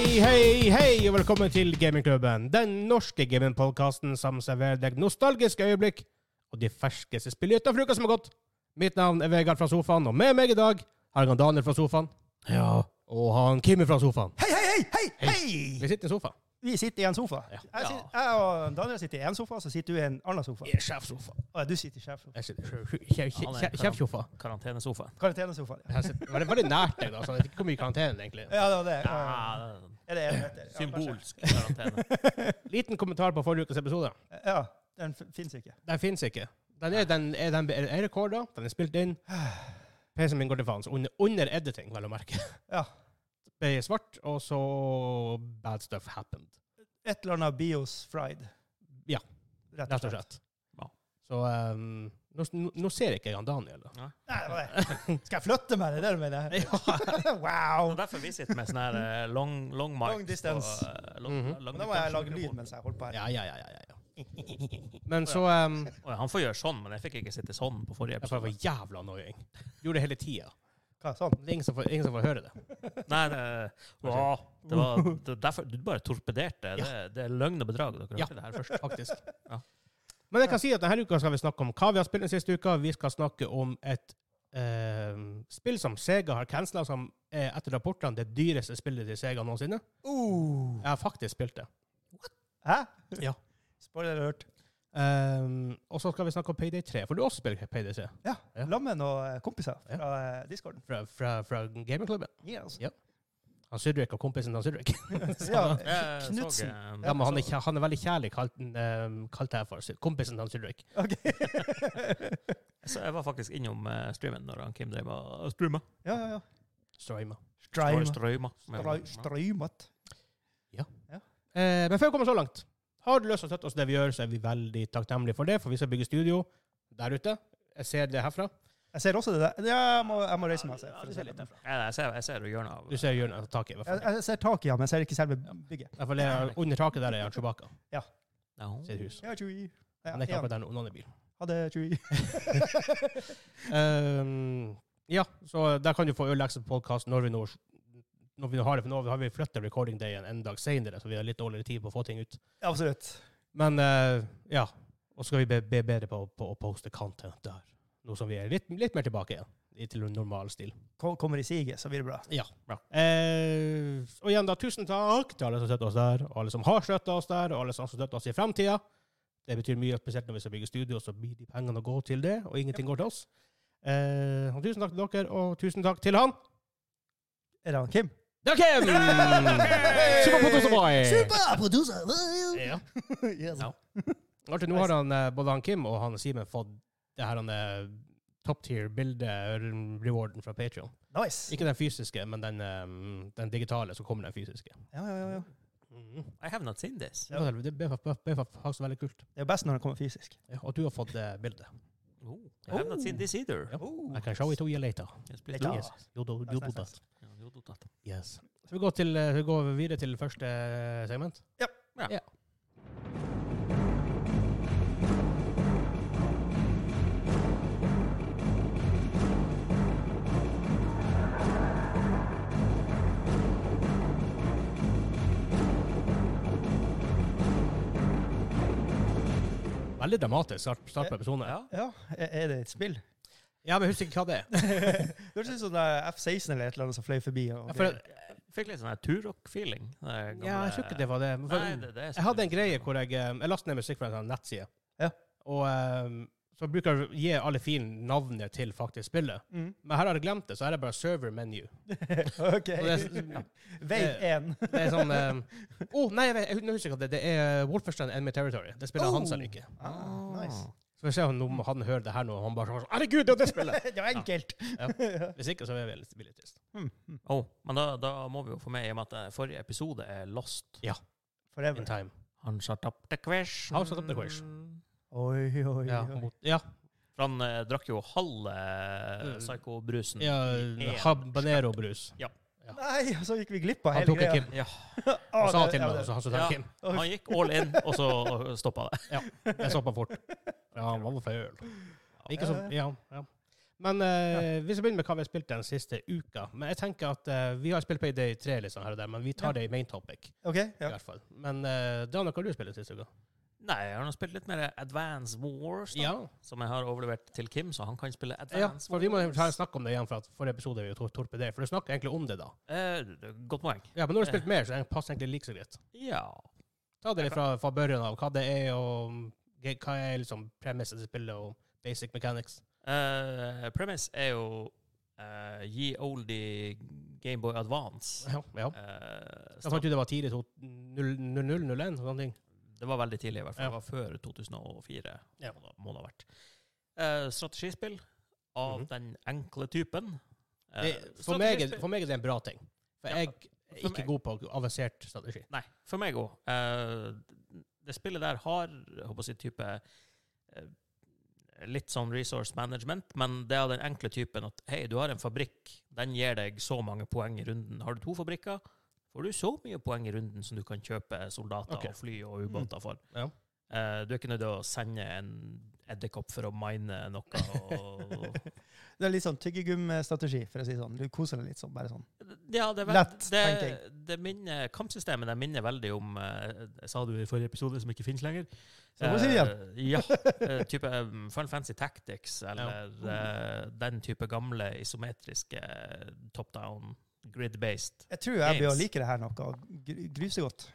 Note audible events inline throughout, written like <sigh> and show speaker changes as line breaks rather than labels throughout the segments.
Hei, hei, og velkommen til Gamingklubben. Den norske gamingpodkasten som serverer deg nostalgiske øyeblikk og de ferskeste spillene utenfor uka som har gått. Mitt navn er Vegard fra sofaen, og med meg i dag har jeg han Daniel fra sofaen. Ja. Og han Kimi fra sofaen.
Hei, hei, hei, hei, hei!
Vi sitter i sofaen.
Vi sitter i en sofa. Jeg, sit, jeg og Daniel sitter i en sofa, så sitter du i en annen sofa.
I sjefsofa.
Og du sitter i sjefsofa.
Jeg sitter i sj- sj-
Han
sj-
er-
sj- Sjefsofa.
Karantenesofa.
Karantenesofaen. ja.
Jeg sitter- Veldig veldig nært deg, da, så jeg vet ikke hvor mye karantene det egentlig er.
Ja, det var det.
Ja, det er
Er det en meter? Ja,
Symbolsk karantene.
Liten kommentar på forrige ukes episode.
kanskje. Ja, den f- finnes ikke.
Den fins ikke. Den er, den er, den er rekorda, den er spilt inn. <sighs> PC-en min går til faen. så Under, under editing, vel å merke.
Ja.
<laughs> Ble svart, og så bad stuff happened.
Et eller annet bios fried.
Ja.
Rett
Rett og slett.
Ja.
Så ehm, nå, nå- nå ser jeg ikke han Daniel, da.
Nei, det var det. Skal jeg flytte meg? Det er det du mener?
Det
<laughs> wow!
er derfor vi sitter med sånn her eh, long, long mark.
Long distance.
på, eh, long-
Mhm.
long
Men da må jeg
distance
lage lyd
mikrofon.
mens jeg holder på her.
Ja, ja, ja. ja, ja. Men så ehm,
Å, ja, Han får gjøre sånn, men jeg fikk ikke sitte sånn på forrige
Jeg får
episode.
for jævla annoying. Gjorde det hele tida.
Hva, sånn?
Det er ingen som får, ingen som får høre det.
Nei, det, ja, det
<laughs>
var det var derfor Du bare torpederte. Det, det er løgn og bedrag. Dere
Ja.
hørte det her først.
faktisk.
Ja.
Men jeg kan si at denne uka skal vi snakke om hva vi har spilt den siste uka. Vi skal snakke om et eh, spill som Sega har cancela, som er etter rapportene det dyreste spillet til Sega noensinne.
Uh.
Jeg har faktisk spilt det.
Hæ?
Ja.
Spoiler alert.
Ehm, og så skal vi snakke om Payday 3, for du har også spilt Payday 3
Ja.
Ja.
Lammen og eh, kompiser
Ja. altså.
fra eh, discorden.
fra, fra, fra gamingklubben.
Yes.
Han Sydrik og kompisen til han Sydrik.
<laughs> Ja,
Jeg så,
Knutsen.
eh,
Ja, men han er, kjæ- han er veldig kjærlig kalt, um, kalt jeg for. Sy- Kompisen til han Sydrik.
Ok. <laughs>
så jeg var faktisk innom eh, streamen når han Kim drev og streama.
ja, ja, ja.
Strøyma.
Strøm.
Strøyma.
Strømmet.
Eh, men før vi kommer så langt, har du lyst til å støtte oss i det vi gjør, så er vi veldig takknemlige for det, for vi skal bygge studio der ute. Jeg ser det herfra.
Jeg ser også det der. Ja, jeg, må, jeg må reise meg.
Ja,
Jeg,
du ser litt herfra.
Ja, jeg ser, jeg ser jo hjørnet av
Du ser hjørnet av taket, i hvert
jeg,
fall.
jeg ser taket, ja, men jeg ser ikke selve bygget.
I hvert fall det er under taket der er Chewbacca
Ja.
sitt hus.
Ja, tjui.
Men det er ikke
Ja,
akkurat der noen er bil.
ha det,
<laughs>
tjui.
Um, ja, så der kan du få ødelagte podkast når vi nå når vi nå har det, for nå har vi flyttet recording dayen en dag senere, så vi har litt dårligere tid på å få ting ut.
Absolutt.
Men eh, ja, og så skal vi bli bli bedre på, på å poste content der. Nå som vi er litt, litt mer tilbake igjen, i- til normal stil.
Ko- Kommer i siget, så blir det bra.
Eh, og igjen da, tusen takk til alle som støtter oss der, og alle som har støttet oss der, og alle som støtter oss i fremtiden. Det betyr mye, spesielt når vi skal bygge studio, så blir de pengene å gå til det, og ingenting går til oss. Eh, og tusen takk til dere, og tusen takk til han.
Er det han
<laughs>
Kim?
Det er Kim! Superproducer boy!
Superproducer!
<laughs> Ja.
Yes.
Ja.
Artig, nå har han, eh, både han Kim og han Simen fått det her han eh, top tier bilde-rewarden fra Patreon.
Nice.
Ikke den fysiske, men den, eh, den digitale, så kommer den fysiske.
Ja, ja, ja, ja.
I have not seen this.
Ja. Det ble fa- ble fa- faktisk veldig kult.
Det er jo best når han kommer fysisk.
Ja, og du har fått eh, bildet.
Oh, I have not seen this either.
Ja.
Oh.
I can show it to you later.
Yes, please
Ja.
do.
Yes. You do,
Nice,
you
nice,
do that.
nice.
Ja, jo, do that.
Yes. Så vi går, til, eh, vi går videre til første eh, segment.
Ja.
Ja.
Veldig dramatisk start, start på episoden. Ja.
Ja.
Ja, er er det et
<laughs>
spill?
ja, men jeg husker ikke hva det er.
Det høres ut som det er F-16 eller et eller annet som fløy forbi. Og
Ja, for,
Fikk litt sånn her turrock-feeling.
ja, jeg tror ikke det var det. Men For,
Nei, det, det er
Jeg hadde en greie hvor jeg eh, Jeg lastet ned musikk fra en sånn nettside.
Ja.
Og eh, så bruker jeg å gi alle filene navnet til faktisk spillet.
Mm. <laughs>
Men her har jeg glemt det, så her er det bare server menu.
OK.
Og det, er-
Vei én.
det er sånn Å,
<laughs>
oh, nei, jeg, vet- jeg, nå husker jeg ikke hva det er. Det er Wolferstein Enemy Territory. Det spiller
Oh.
han selv ikke.
Ah,
<laughs>
nice.
Så vi ser om noen- han hører det her nå, og han bare sånn Herregud, det er jo det
<laughs>
spillet!
Det var enkelt.
Hvis ikke, så er vi litt, blir litt trist.
Oh, men da, da må vi jo få med, i og med at eh, forrige episode er Lost.
In
<laughs> Forever.
time.
Han shut up the question.
Han shut up the question.
Oi, oi, oi.
Ja. mot- ja.
For han eh, drakk jo halve eh,
Mm.
psycho-brusen.
ja
En.
Habanero-brus.
Nei, og så gikk vi glipp av
Han
hele
tok en
greia. Ah,
Kim.
Ja.
Han sa
det-
til
ja,
meg,
det-
og så han sa
Ja.
til Kim.
Han gikk all in, og så stoppa det.
Jeg stoppa fort. Ja, han var for øl. Ikke så, ja, ja. Men eh, vi skal begynne med hva vi har spilt den siste uka. Men jeg tenker at eh, Vi har spilt Payday 3, liksom, her og der, men vi tar
Ja.
det i main topic.
OK?
i
Ja.
hvert fall. Men eh, Daniel, hva har du spilt den siste uka?
Nei, jeg har nå spilt litt mer Advance Wars, da,
Ja.
som jeg har overlevert til Kim, så han kan spille
ja,
Advance
for Vi må ta
Wars.
en snakk om det igjen, for at forrige episode er vi jo tor- torpedert. For du snakker egentlig om det, da.
Eh, godt poeng.
Ja, Men nå har du spilt mer, så det passer egentlig like så greit.
Ja.
Ta det litt fra, fra børjen av hva det er, og mm, ge- hva er liksom premisset til spillet, og basic mechanics.
Eh, premise er jo uh, Ye oldie Gameboy Advance.
Ja, ja.
Eh,
Jeg fant ut det var tidlig 0001, sånne ting.
Det var veldig tidlig, i hvert fall.
Ja.
Det var før 2004.
Ja.
Må, det, må det ha vært. Eh, strategispill av
Mhm.
den enkle typen. Eh,
Det, for, meg, er-
strategispill-
for meg er det en bra ting. For
Ja,
jeg er
for
ikke
meg-
god på avansert strategi.
Nei, for meg òg. det spillet der har jeg håper å si, type eh, Litt sånn resource management, men det er av den enkle typen at hei, du har en fabrikk, den gir deg så mange poeng i runden. Har du to fabrikker, får du så mye poeng i runden som du kan kjøpe soldater
Ok. Mm.
og fly og ubåter for.
Ja.
Eh, du er ikke nødt til å sende en edderkopp for å mine noe. Og
Det er litt sånn tyggegummistrategi, for å si det sånn. Du koser deg litt sånn, bare sånn.
Ja, det, er vel-
Lett
det, det minner, Kampsystemet det minner veldig om eh, Jeg sa det jo i forrige episode, som ikke finnes lenger.
Så må vi si det igjen.
Eh, ja. eh, type um, Final Fantasy Tactics eller eh, den type gamle isometriske top down, grid-based.
Jeg tror jeg blir å
Games.
like det her noe gr- grusegodt.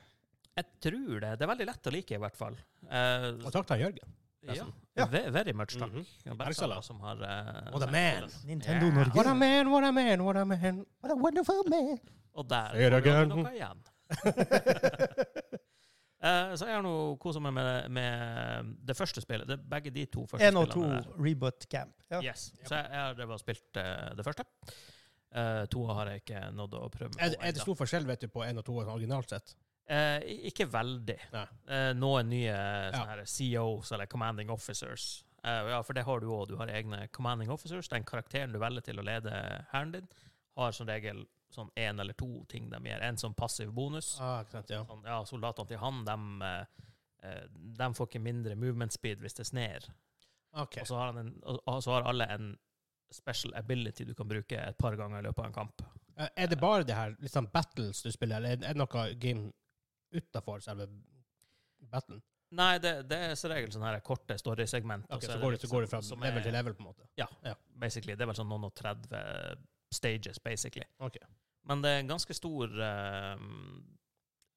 Jeg tror det. Det er veldig lett å like, i hvert fall. Eh,
Og takk til Jørgen.
ja.
forresten.
Ja.
Ve very much, takk.
Mhm.
Det er bare
Excellent.
Sara som har eh,
What a
sendt
man.
oss.
Nintendo
Ja.
Norge.
What a man, what a man, what a man.
What a wonderful man!
Og der
Say it
får vi
again.
noe
<laughs>
igjen. Eh, så jeg har nå kosa meg med, med det første spillet. Det er begge de to første
Én og to
spillene. der.
Reboot Camp. Ja.
Yes. Så jeg, jeg har drevet og spilt eh, det første. Uh, to har jeg ikke nådd å prøve
Er,
meg på
er det
ennå.
stor forskjell vet du, på én og to sånn originalt sett?
Eh, ikke veldig.
Nei.
Eh, noen nye sånne her COs eller Commanding Officers. Eh, ja, for det har du òg. Du har egne Commanding Officers. Den karakteren du velger til å lede hæren din, har som regel sånn én eller to ting de gjør. En som passiv bonus.
Ah, ikke sant, ja.
Sånn, ja, soldatene til han, de, får ikke mindre movement speed hvis det sner.
Ok.
Og, så har han en, og, og så har alle en special ability du kan bruke et par ganger i løpet av en kamp.
Eh, Er det bare det her liksom battles du spiller, eller er det- er det noe game utafor selve battlen?
Nei, det, det er som regel sånne her korte storysegment. og
Ok,
er
så går det, så
liksom-
går det fra
som
level
er-
til level, på en måte?
Basically, det er vel sånn noen og 30 stages, basically.
Ok.
Men det er en ganske stor eh,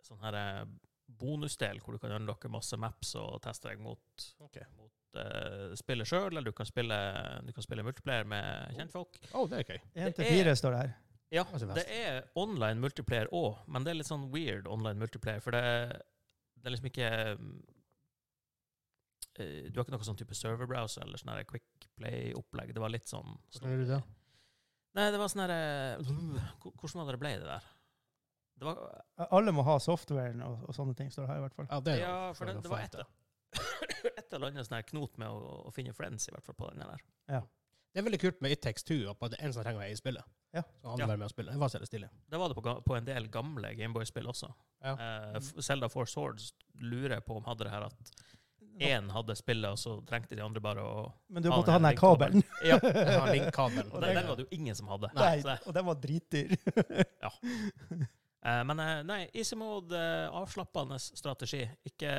sånn her eh, bonusdel, hvor du kan unlocke masse maps og teste deg mot,
Ok.
mot eh, spillet sjøl, eller du kan spille, du kan spille multiplayer med kjentfolk.
Å, det er gøy.
Én
Det
til
er-
fire står det her.
Ja,
Altså,
det er online multiplayer òg, men det er litt sånn weird online multiplayer, for det, det er liksom ikke mm, eh, Du har ikke noe sånn type serverbrowser eller sånn her quick play-opplegg. Det var litt sånn
Hvordan gjør du det?
Nei, det var sånn herre Hvordan var det det ble, det der? Det var
Alle må ha softwaren og, og sånne ting, står det her i hvert fall.
Ja, det er
Ja,
noe
for det-
å
det var
forvente.
etter. et eller annet sånn her knot med å, å finne friends, i hvert fall, på den der.
Det er veldig kult med It Takes Two, og på at det er en som trenger å være i spillet.
Ja.
Så han
Ja.
være med og spille. Det var stille stille.
Det var det på, ga- på en del gamle Gameboy-spill også.
Ja.
Eh, F- Zelda Four Swords lurer jeg på om hadde det her at én hadde spillet, og så trengte de andre bare å
Men du
Ha
måtte
den
ha den her
her
kabelen.
Ja,
Jeg har linkkabelen.
og den, den var det jo ingen som hadde.
<laughs> Nei,
Så,
og den var dritdyr. <laughs>
eh, men eh, nei, easy mode, eh, avslappende strategi. Ikke,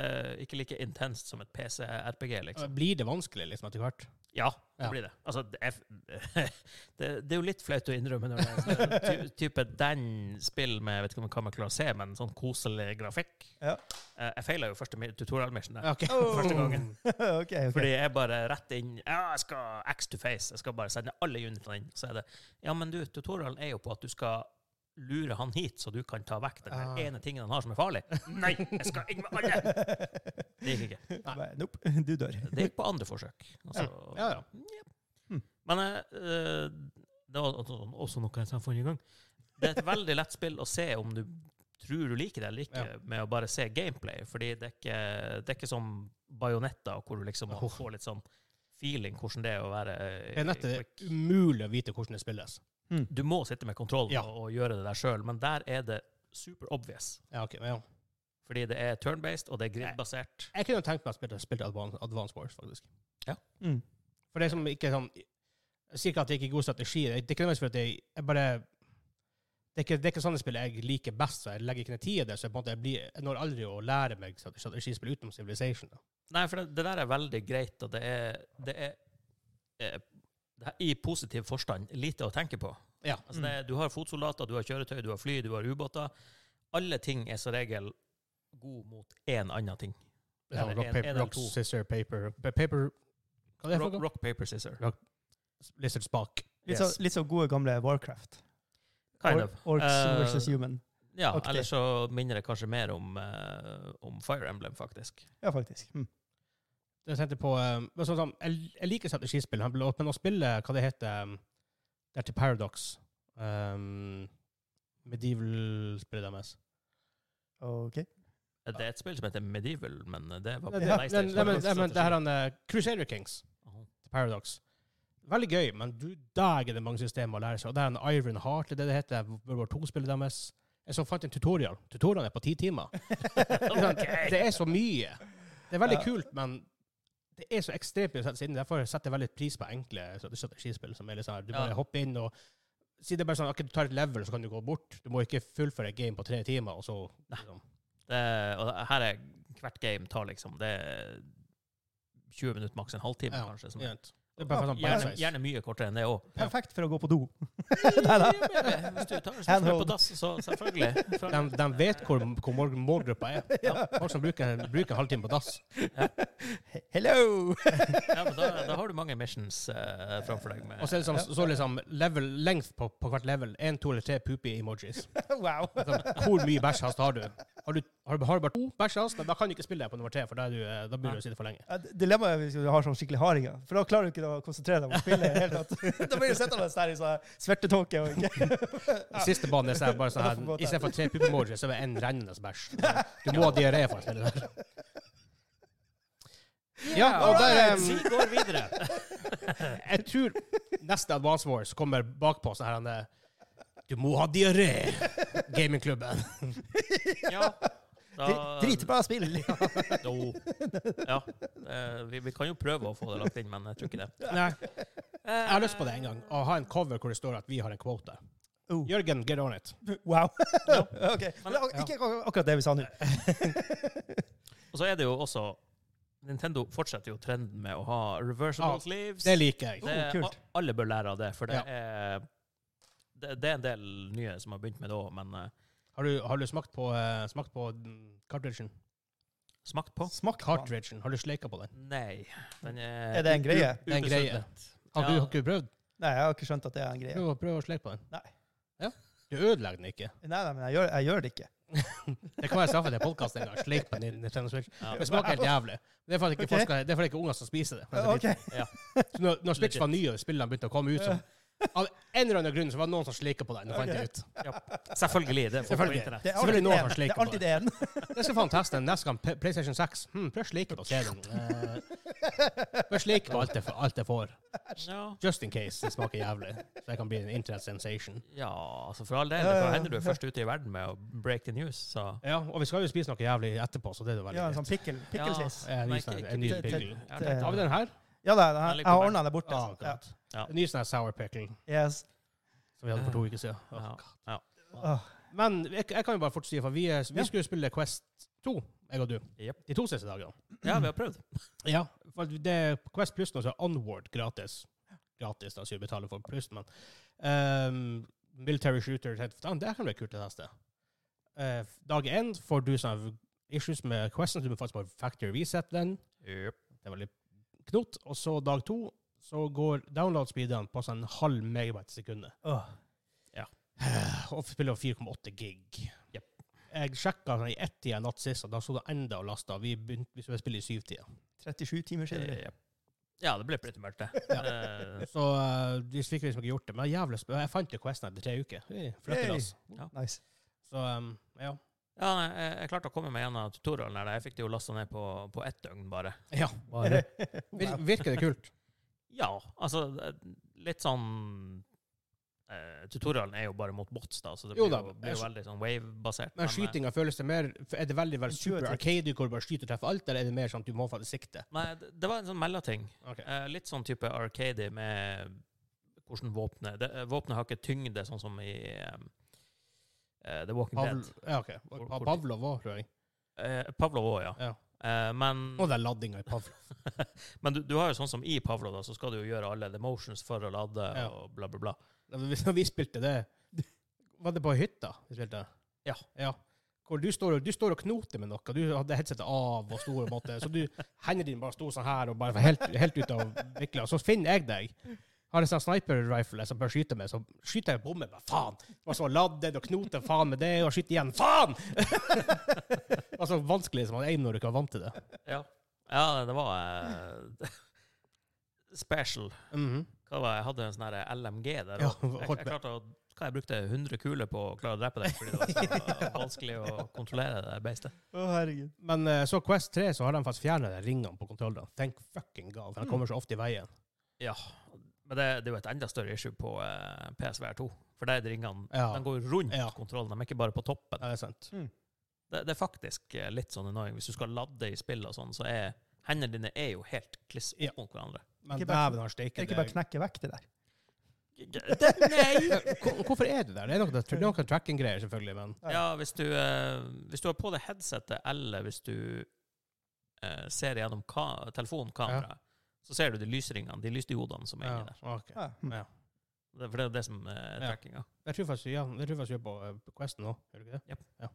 ikke like intenst som et PC-RPG, liksom.
Blir det vanskelig liksom etter hvert?
Ja, det
Ja.
blir det. Altså, det er, <laughs> det, det er jo litt flaut å innrømme når det er sånn,
<laughs>
ty, type den spill med jeg vet ikke om hva man klarer å se, men sånn koselig grafikk.
Ja.
Eh, jeg feila jo første mi- tutorial-mission der.
Ja, ok.
Oh.
<laughs> Første gangen.
ok, ok. <laughs>
Fordi jeg bare rett inn Ja, jeg skal X to face. Jeg skal bare sende alle unitene inn. Så er det Ja, men du, tutorialen er jo på at du skal lure han hit, så du kan ta vekk den
Ah.
der ene tingen han har som er farlig. Nei, jeg skal inn med alle! Det gikk ikke.
Bare, Nope, <laughs> du dør.
Det gikk på andre forsøk. Altså,
Ja, ja. Hm.
Mm. Men eh, det var også også noe jeg sa forrige gang. Det er et veldig lett spill å se om du tror du liker det eller ikke, med å bare se gameplay. Fordi det er ikke, det er ikke som bajonetter, hvor du liksom
Oh.
får litt sånn feeling hvordan det er å være eh,
Det er nettet det
quick.
er umulig å vite hvordan det spilles.
Hmm.
Du må sitte med kontroll
Ja.
og, og gjøre det der sjøl, men der er det super obvious.
Ja, ok. men Ja.
Fordi det er turn-based, og det er grid-basert.
Jeg kunne tenkt meg å spille, spille Advan- Advance Wars, faktisk.
Mm.
For det som ikke er sånn Jeg sier ikke at det ikke er god strategi. Det er ikke nødvendigvis for at jeg, jeg bare det er, ikke, det er ikke sånne spill jeg liker best, så jeg legger ikke ned tid i det. Så jeg, på en måte, jeg, blir, jeg når aldri å lære meg strate- strategispill utenom Civilization. Da.
Nei, for det, det der er veldig greit, og det er, det er, eh, det er i positiv forstand lite å tenke på.
Ja.
Altså, det, er- du har fotsoldater, du har kjøretøy, du har fly, du har ubåter. Alle ting er som regel god mot én annen ting.
Ja,
Eller
rock,
en- en
paper,
eller
rock,
to.
scissor, paper pa- Paper Hva er det for
Rock,
noe?
rock paper, scissor.
Lizard Spak.
Litt,
Yes.
så, litt så gode gamle Warcraft.
Kind
Or-
of.
Orcs
Eh,
versus human.
Ja,
Aktig.
eller så minner det kanskje mer om, eh, om Fire Emblem, faktisk.
Ja, faktisk. Mm.
Jeg tenkte på um, men sånn, som- jeg, jeg liker strategispill, men å- men å spille hva det heter um, Det er til Paradox. Um, Medieval-spillet deres.
<laughs>
<laughs>
Ok.
Det er et spill som heter Medieval, men det var
Nei,
på
det- nei,
PlayStation.
nei, men- nei, men Det her er en, uh, Crusader Kings.
Aha.
til Paradox. Veldig gøy, men du der er det mange systemer å lære seg. Og det er en Iron Heart, det er det det heter, World War 2-spillet deres. Jeg så fant en tutorial. Tutorialen er på ti timer. <laughs>
Ok.
Det er så mye. Det er veldig
Ja.
kult, men det er så ekstremt mye å sette seg inn i. Derfor setter jeg veldig pris på enkle strategispill. som er litt sånn, her, Du bare
Ja.
hopper inn og Si det er bare sånn, ok, du tar et level, så kan du gå bort. Du må ikke fullføre et game på tre timer, og så liksom.
Det, og det- her er hvert game tar liksom det er 20 minutter, maks en halvtime,
Ja,
kanskje. Som,
Gjerne, det er bare sånn
gjerne,
bite-size.
gjerne mye kortere enn
<laughs>
det òg.
Perfekt for å gå på <laughs> do.
eh, Hvis du tar hvis du skal
Handhold.
på dass, så selvfølgelig.
De, <laughs> de vet hvor, hvor mål- målgruppa er.
<laughs> Ja.
Folk som bruker, bruker en halvtime på dass.
Hello!
<laughs> Ja, men da, da har du mange missions eh, framfor deg. Med.
Og så er det liksom, så er det liksom level, length på, på hvert level. Én, to eller tre poopy-emojis.
<laughs> wow.
Sånn, Hvor mye bæsjhast har du? Har du, har du har du bare to bæsjhast? Da kan du ikke spille deg på nummer tre, for da, er du, eh, da blir du å sitte for lenge.
Ja, d- Dilemmaet er hvis du har sånn skikkelig hardinger, for da klarer du ikke å konsentrere deg om spillet. i det <laughs> hele tatt. da blir du sittende der i sånn svertetåke. og ikke-
Siste banen er sånn, bare sånn her, i stedet for tre poopy-emojis, så er det en rennende bæsj. Du må ha diaré for å spille der. Ja, og der
alright.
em,
Vi går videre.
<laughs> Jeg tror neste Advance Wars kommer bakpå sånn her han er, Du må ha diaré! Gamingklubben.
Ja.
Dri- Dritbra spill!
Jo. Ja. eh, vi, vi kan jo prøve å få det lagt inn, men jeg tror ikke det.
Nei. Jeg har lyst på det en gang. Å ha en cover hvor det står at vi har en kvote.
Oh.
Jørgen, get on it.
<laughs> Wow. ok. Men det er ak-
Ja.
ikke ak- akkurat det vi sa nå.
Og så er det jo også Nintendo fortsetter jo trenden med å ha reversible
Ja,
sleeves.
Det liker jeg.
Det,
Oh, kult.
a- Alle bør lære av det, for det
Ja.
er det, det er en del nye som har begynt med det òg, men eh,
Har du, har du smakt på, eh, smakt på mm, cartridgen?
smakt på?
Smak på den.
Cartridgen, Har du sleika på den?
Nei. Den er,
Er det en greie?
Det er en greie.
ubesudlet.
Har du,
Ja.
har ikke du prøvd?
Nei, jeg har ikke skjønt at det er en greie.
Prøv, å- prøv å sleike på den.
Nei.
Ja? Du ødelegger den ikke.
Nei, nei, men jeg gjør, jeg gjør det ikke.
Det kan være straffa til podkasten en gang. Sleik på den i Nintendo Switch.
Ja.
Det smaker helt jævlig. Det er for at ikke,
Ok.
okay. det er for at ikke unger som spiser det. Men det er
Ok.
litt- så når, når Switch var ny og spillene begynte å komme ut, så av en eller annen grunn så var det noen som sleika på den. Og fant det ut. <laughs>
Selvfølgelig. Det får på
Selvfølgelig.
internett.
Det
Selvfølgelig
er alltid
noen
det
har
ene. Det
sleiket
er alltid det ene.
Jeg skal faen teste den neste gang P- PlayStation 6. Hmm, prøv å sleike på
<laughs>
CD-en. Eh, Prøv å sleike på alt jeg, f- alt jeg får.
Ja.
Just in case det smaker jævlig. Så jeg kan bli en internet sensation.
ja, altså for all del.
Ja,
Det
ja, ja.
kan hende du er først ute i verden med å break the news, så
Ja, og vi skal jo spise noe jævlig etterpå, så det er jo veldig
Ja, en
greit.
sånn pikkel, picklesis.
Eh, en ny
Nei,
sånn-
ikke-
en ny
ikke-
pickle.
Jeg har tenkt
Har vi den her?
Ja, da, da,
Den ligger
jeg
på
har
back.
ordna det bort.
Ja,
Altså. Ja.
akkurat.
Ja.
En ny sånn her sour pickle
Yes.
som vi hadde for to uker siden. Åh,
Ja.
God.
Åh,
Men jeg, jeg kan jo bare fort si, for vi, er-
Ja.
vi skulle spille Quest 2, jeg og du,
Jep.
de to siste dagene.
Ja, vi har prøvd.
Ja, for det er Quest Plus nå, så er Onward gratis. Gratis, da, så vi betaler for Plus, men ehm, Military Shooter tenkte, faen, det her kan bli kult å teste. Eh, dag én får du sånne issues med questions, du må faktisk bare factory reset den. Det er veldig knot. Og så dag to, så går download-speedene på sånn halv megabyte i sekundet. <sighs>
åh.
Og spiller 4,8 gig. Jeg sjekka i ett-tida natt sist, og da så det enda og lasta. Vi begynte vi skulle spille i syvtida.
37 timer siden.
Jep. Eh, Ja, det ble pretty mørkt, det.
<laughs>
Eh,
Så uh, de fikk liksom ikke gjort det. Men jævlig sp jeg fant jo Questen etter tre uker. Hey, flott til oss.
Nice.
Så um, ja.
Ja, nei, jeg, jeg klarte å komme meg gjennom tutorialen. her. Jeg fikk det jo lasta ned på, på ett døgn, bare.
ja.
<laughs>
Vir
Wow.
virker det kult?
Ja, altså det- litt sånn eh, Tutorialen er jo bare mot bots, da, så det
Jo
blir,
da,
jo,
jeg
blir jo veldig sånn wave-basert.
Men
eh,
skytinga føles det mer Er det veldig veldig super
Intuitivt.
arcade hvor du bare skyter og treffer alt, eller er det mer sånn at du må faktisk sikte?
Nei, det det var en sånn mellomting.
Ok.
Eh, litt sånn type arcade med hvordan våpenet det, eh, Våpenet har ikke tyngde, sånn som i um, eh, The Walking
Pavel,
Dead.
ja, ok.
Hvor-
Pa-
hvor-
Pavlov var, tror jeg.
Eh, Pavlov òg, ja.
Ja.
Eh, men
Og det er ladinga i Pavlov.
men du, du har jo sånn som i Pavlov, da, så skal du jo gjøre alle the motions for å lade
Ja.
og bla, bla, bla.
Hvis <laughs> vi spilte det Var det på hytta vi spilte?
Ja.
Hvor du står, og- du står og knoter med noe. Du hadde headsetet av og sto og måtte Så du, hendene dine bare sto sånn her og bare var helt, helt ut av vikla. Så finner jeg deg. Har en sånn sniper-rifle som bør skyte med, så skyter jeg bombe. Bare faen! Og så ladde den og knoter faen med det, og skyter igjen. Faen! <laughs> det var så vanskelig som man er når du ikke er vant til det.
Ja, ja det var eh, <laughs> special.
Mhm.
Hva var det? Jeg hadde en sånn her LMG der.
Ja,
og jeg,
holdt
jeg klarte å hva, Jeg brukte 100 kuler på å klare å drepe deg, fordi det var
<laughs>
så vanskelig å kontrollere det beistet.
Å, herregud.
Men eh, så Quest 3 så har de faktisk fjernet de ringene på kontrollene. Thank fucking god. for De kommer så ofte i veien.
Men det, det er jo et enda større issue på eh, PSVR 2. For der er ringene
Ja.
De går rundt
Ja.
kontrollen, de er ikke bare på toppen.
Ja, det er sant.
Det, det er faktisk eh, litt sånn annoying. Hvis du skal lade i spill og sånn, så er hendene dine er jo helt kliss opp
Ja.
mot hverandre.
Men
Ikke bare-
dæven har steiket
Kan ikke bare knekke vekk
<laughs>
det der?
Nei!
Hvor- Hvorfor er det der? Det er noe, det er noe tracking-greier, selvfølgelig, men
Ja, hvis du, eh, hvis du har på deg headsetet, eller hvis du eh, ser gjennom ka telefonkameraet, så ser du de lysringene, de lysdiodene som er
ja,
inni der.
ok.
Ja. hm.
Ja.
Det- For det er jo det som eh, er
Ja.
trackinga.
Jeg tror faktisk ja, jeg tror faktisk vi er på eh, på Questen nå, gjør du ikke det?
Japp.
Ja.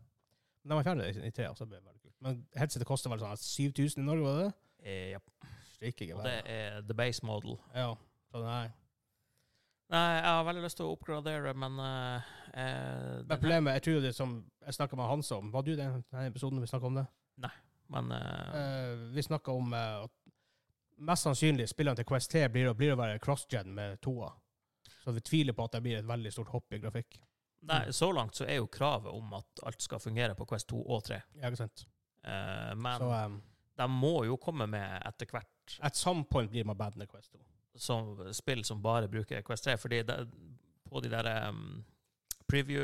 Men de har fjernet det i- i tre, altså. Det blir veldig kult. Men headsetet koster vel sånn 7000 i Norge, var det det?
Eh, ja.
Steike
Og det
gevær.
er the base model.
Ja. Så nei.
Nei, jeg har veldig lyst til å oppgradere, men eh, eh,
Men
den her-
problemet, jeg tror det som jeg snakket med Hans om, var du det i denne episoden vi snakket om det?
Men eh,
Eh, vi snakket om eh, at mest sannsynlig spillene til Quest 3 blir, å- blir å være cross-gen med toa. Så vi tviler på at det blir et veldig stort hopp i grafikk. mm.
nei, så langt så er jo kravet om at alt skal fungere på Quest 2 og 3.
Ja, ikke sant?
Eh, men
Så eh,
de må jo komme med etter hvert
At some point blir man bad med Quest 2.
som spill som bare bruker Quest 3. Fordi det, på de der um,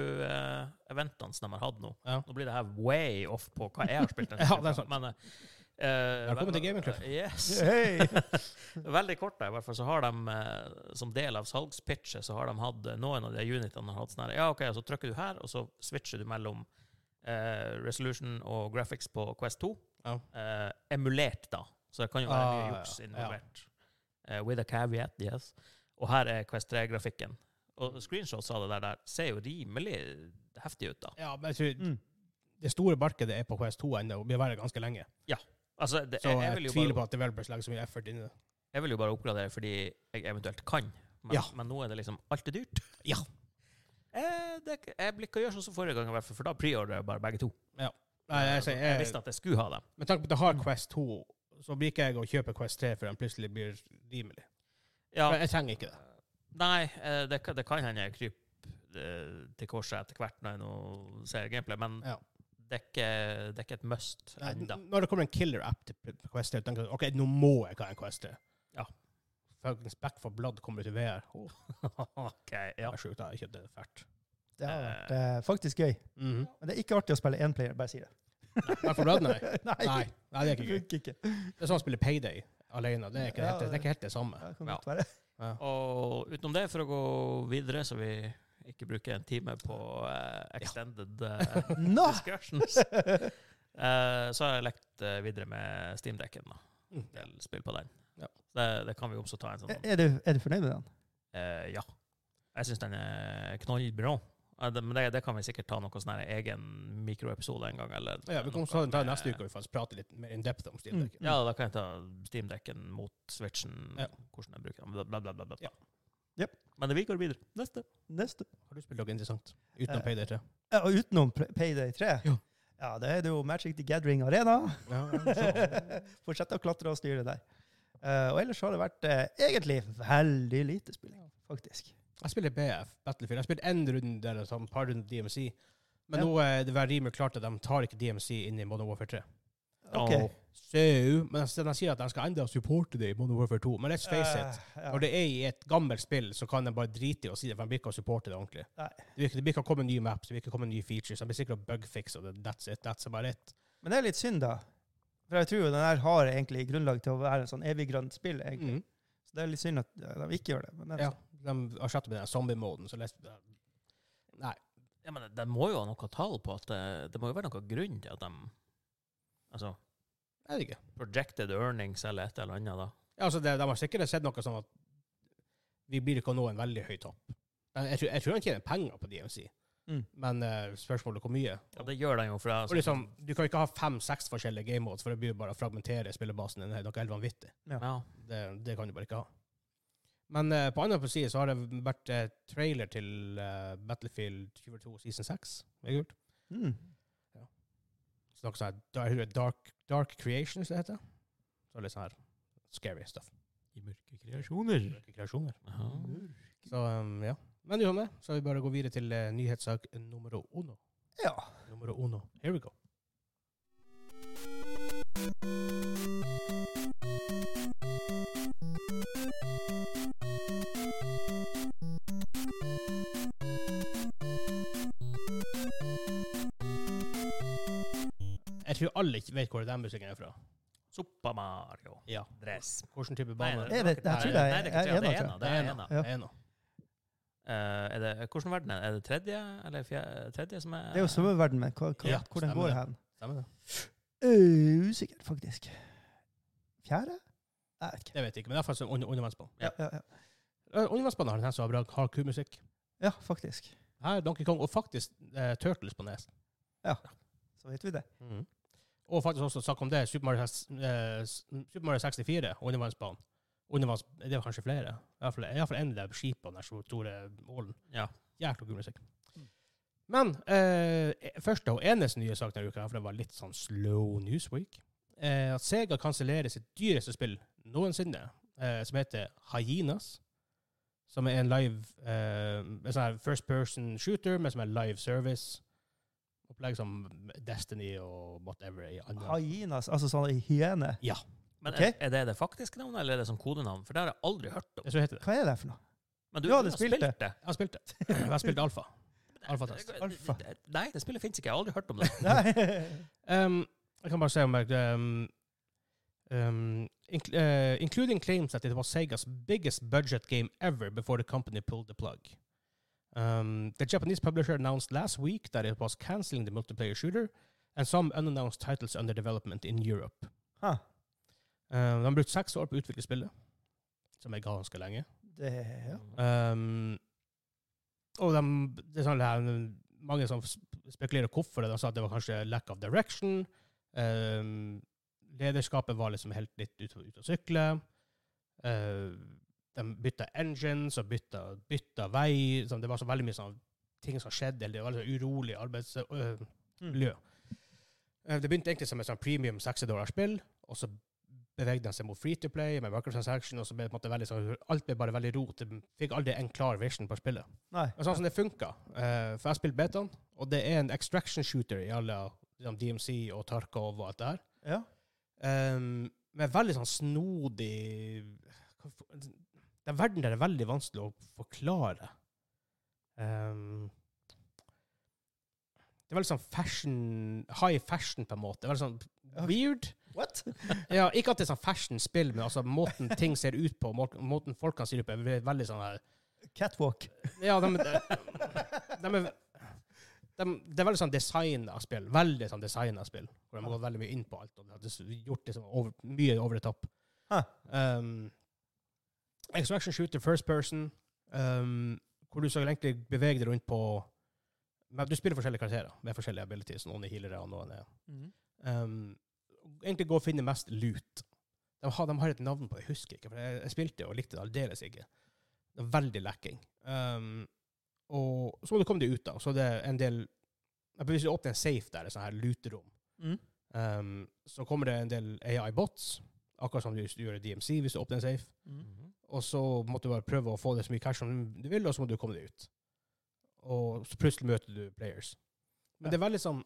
preview-eventene som de har hatt nå
Ja.
Nå blir det her way off på hva jeg har
<laughs>
spilt. denne
Ja, det er
uka,
sant.
Men, eh,
Velkommen til
vel-
Gaming Club.
Yes.
Hei!
<laughs> Veldig kort, da, i hvert fall, så har de eh, som del av salgspitchet, så har de hatt eh, noen av de unitene har hatt sånn her Ja, OK, så trykker du her, og så switcher du mellom eh, resolution og graphics på Quest 2.
Ja.
Eh, emulert, da. Så det kan jo være
Ah,
mye
ja,
juks
ja.
involvert. Eh, with a caveat, yes. Og her er Quest 3-grafikken. Og screenshots av det der, der ser jo rimelig heftig ut, da.
Ja, men jeg tror
Mm.
det store markedet er på Quest 2 ennå, og vil være ganske lenge.
Altså, det,
Så
jeg,
jeg,
jeg, vil jo
tviler
bare,
på at developers legger så mye effort inn i det.
jeg vil jo bare oppgradere fordi jeg eventuelt kan. Men,
Ja.
men nå er det liksom Alt er dyrt.
Ja.
Eh, det, er ikke- jeg blir ikke å gjøre sånn som forrige gang, i hvert fall, for da preordrer jeg bare begge to.
Nei, jeg, sier-
altså, jeg
jeg,
visste at jeg skulle ha dem.
med tanke på at jeg har Quest 2, så blir ikke jeg å kjøpe Quest 3 før den plutselig blir rimelig.
Ja.
Men jeg trenger ikke det.
Nei, eh, det, kan- det kan hende jeg kryper eh, til korset etter hvert når jeg nå ser gameplay, men
Ja.
det, er ikke, det er ikke et must
Nei,
ennå.
<laughs> n- når det kommer en killer-app til P- Quest 3, tenker jeg ok, nå må jeg ha en Quest 3.
Ja.
Fuckings Back for Blood kommer til VR. Åh,
OK, ja.
det er sjukt, jeg har kjøpt det fælt.
Det har vært eh, faktisk gøy.
Mhm.
Men det er ikke artig å spille én player, bare si det.
Back for Blood,
<laughs>
nei.
<laughs> Nei,
nei. Nei, det er
<laughs> det
ikke gøy.
funker ikke.
Det er sånn å spille Payday alene. Det er ikke,
Ja,
helt, det er ikke helt det samme.
Det kan
Ja.
godt være. <laughs>
Og utenom det, for å gå videre, så vi ikke bruker en time på
<laughs>
eh, extended eh,
Nå!
discussions, eh, så har jeg lekt eh, videre med Steam-dekken. da.
Mm.
Del spill på den.
Ja.
Så Det, det kan vi også ta en sånn
Er du, er du fornøyd med den?
Eh, ja. Jeg syns den er knallbra. Eh, det- Men det, det kan vi sikkert ta noe sånn her egen mikroepisode en gang. Eller,
Ja, vi kommer til å ta det neste uke og vi faktisk prater litt mer in depth om Steam Deck.
Mm.
Ja, da kan jeg ta Steamdekken mot Switchen,
Ja.
hvordan jeg bruker den, bla, bla, bla. bla, bla.
Ja.
Jep.
Men vi går videre. Neste.
Neste.
Har du spilt noe interessant utenom
Eh,
Payday 3?
Ja, og utenom P- Payday 3,
Ja.
ja, da er det jo Magic the Gathering Arena.
Ja,
<laughs> Fortsette å klatre og styre der. Eh, og ellers har det vært eh, egentlig veldig lite spilling, faktisk.
<laughs> jeg spiller BF, Battlefield. Jeg har spilt én runde der, et par runder DMC. Men
Ja.
nå er det vel rimelig klart at de tar ikke DMC inn i Modern Warfare 3.
Ok.
Åh.
Så, men altså, de de sier at de skal enda supporte det i Modern Warfare 2. Men let's face it,
Eh, ja.
når det er i et gammelt spill, så kan de bare drite i å si det, for de blir ikke å supporte det ordentlig.
Nei.
Det blir ikke- det blir ikke å komme nye maps, det blir ikke å komme nye features. De blir sikkert å bugfixe det. That's it. That's about it.
Men det er litt synd, da. For jeg tror jo den her har egentlig grunnlag til å være en sånn evig grønt spill.
Mm.
egentlig. Så det er litt synd at eh, de ikke gjør det. Men det er
Ja,
sånn.
De erstatter med den zombie-moden. Så leste Nei.
Ja, men de må jo ha noe tall på at det, det må jo være noen grunn til at de Altså
Jeg vet ikke.
projected earnings eller et eller annet, da.
Ja, altså, det, de har sikkert sett noe sånn at vi blir ikke å nå en veldig høy topp. Men Jeg tror, jeg tror de tjener penger på DMC,
Mm.
men eh, spørsmålet er hvor mye.
Ja, det gjør de jo, for det er
Og liksom, du kan ikke ha fem-seks forskjellige game modes, for det blir jo bare å fragmentere spillebasen din. Det er noe helt vanvittig.
ja.
ja.
Det, det kan du bare ikke ha. Men eh, på andre side så har det vært eh, trailer til eh, Battlefield 22 season 6. Det er kult.
Mm.
Så noe sånn her da- dark, dark Creations, det heter. Så litt sånn her scary stuff.
I mørke kreasjoner.
Mørke Kreasjoner.
Aha.
Mm.
Så um, ja. Men uansett, det, så vi bare går videre til eh, nyhetssak nummer uno.
ja.
Nummer uno. Here we go. Jeg tror alle ikke vet hvor den musikken er fra.
Super Mario.
Ja.
Dress.
Hvilken type bane?
det-
det
Jeg, vet, jeg tror det
Nei,
er,
det
er,
er ikke tre, det
en
er
av
en
tre.
av det er en av.
er en av.
Eh, er det, hvordan verden er det? Er det tredje eller fjerde, tredje som er
Det er jo svømmeverden, men hva, hva,
Ja,
hvor den
stemmer
går
det.
hen?
Stemmer det?
Øh, Usikker, faktisk. Fjerde? Nei, Jeg vet ikke.
Det vet jeg ikke, men det er faktisk en undervannsbane.
Ja.
Ja, ja.
Undervannsbanen har en tendens til å ha bra hardcore-musikk.
ja faktisk.
Her er Donkey Kong, og faktisk eh, Turtles på nes.
Så vet vi det.
Og faktisk også snakk om det, Super Mario, seks- eh, s- Super Mario 64, undervannsbanen. Undervanns, det er kanskje flere. Iallfall en av de skipene, den store ålen.
Ja.
Jækla kul musikk.
Mm.
Men eh, første og eneste nye sak denne uka, for det var litt sånn slow news week, eh, at Sega kansellerer sitt dyreste spill noensinne, eh, som heter Hyenas, som er en live eh, en sånn her first person shooter, men som er live service. Opplegg som Destiny og whatever. i andre.
Hyenas, altså sånn hyene.
Men
Ok.
er, er det det faktiske navnet, eller er det sånn kodenavn? For det har jeg aldri hørt om.
Det så heter det.
Hva er
<laughs>
det for noe?
Men
Du hadde spilt det.
Jeg har spilt det. <clears throat> Jeg har spilt alfa. Alfatest.
Alfa.
Nei, det spillet fins ikke. Jeg har aldri hørt om det.
Nei.
Um, jeg kan bare se om jeg um, um, inc uh, Including claims that it was Sega's biggest budget game ever before the company pulled the plug. Um, the Japanese publisher announced last week that it was canceling the multiplayer shooter and some unannounced titles under development in Europe.
Huh.
Um, de har brukt seks år på å utvikle spillet, som er ganske lenge.
Det, <laughs> ja.
Um, og de, det er sånn her, mange som sp- spekulerer hvorfor det. De sa at det var kanskje lack of direction. Um, lederskapet var liksom helt litt ute ut å sykle. Uh, de bytta engines og bytta, bytta vei. Sånn, det var så veldig mye sånn ting som skjedde. eller Det var litt sånn urolig arbeidsmiljø.
Mm.
Eh, Det begynte egentlig som et sånn premium 60-dollarspill, og så bevegde han seg mot free to play med microtransaction, og så ble det på en måte veldig sånn, alt ble bare veldig rot. Det fikk aldri en klar vision på spillet.
Nei.
Og sånn som det funka, eh, for jeg spilte betaen, og det er en extraction shooter i alle liksom, DMC og Tarkov og alt det her,
Ja.
Ehm, med veldig sånn snodig hva for- Den verden der er veldig vanskelig å forklare. Ehm, det er veldig sånn fashion, high fashion på en måte. Veldig sånn
Ok.
weird.
What?
Ja, ikke at det er sånn fashion-spill, men altså måten ting ser ut på, må- måten folk kan si det på, er veldig sånn her
<laughs> Catwalk.
Ja, de, de, de, er- de, det er veldig sånn designa spill. Veldig sånn designa spill. Hvor de har gått veldig mye inn på alt. Og de har gjort liksom over, mye over the top.
Hæ.
Um, Extraction shooter first person, um, hvor du skal egentlig bevege deg rundt på men Du spiller forskjellige karakterer med forskjellige abilities. Noen er healere, og noen er
Mm.
um, egentlig gå og finne mest lut. De har, de har et navn på det, jeg husker ikke, for jeg, jeg spilte det og likte det aldeles ikke. Det er veldig lekking. Um, og så må du komme deg ut, da. Så det er en del jeg Hvis du åpner en safe der, et sånt her luterom,
Mm.
um, så kommer det en del AI-bots, akkurat som du gjør i DMC hvis du åpner en safe.
Mm.
Mhm.
Og så måtte du bare prøve å få det så mye cash som du vil, og så må du komme deg ut. Og så plutselig møter du players. Men det er veldig sånn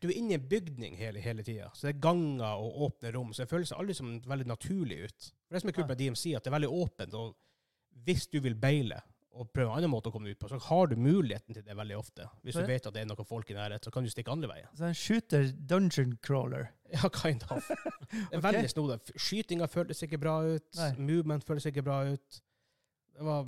Du er inne i en bygning hele, hele tida, så det er ganger og åpne rom, så det føles aldri som veldig naturlig ut. For Det som er kult med DMC, er at det er veldig åpent, og hvis du vil beile og prøve en annen måte å komme ut på, så har du muligheten til det veldig ofte. Hvis
Ja.
du vet at det er noen folk i nærheten, så kan du stikke andre veien.
Så en shooter dungeon crawler.
<laughs> Ja, kind of. Det er
Ok.
veldig snodig. Skytinga føltes ikke bra ut.
Nei.
Movement føltes ikke bra ut. Det var,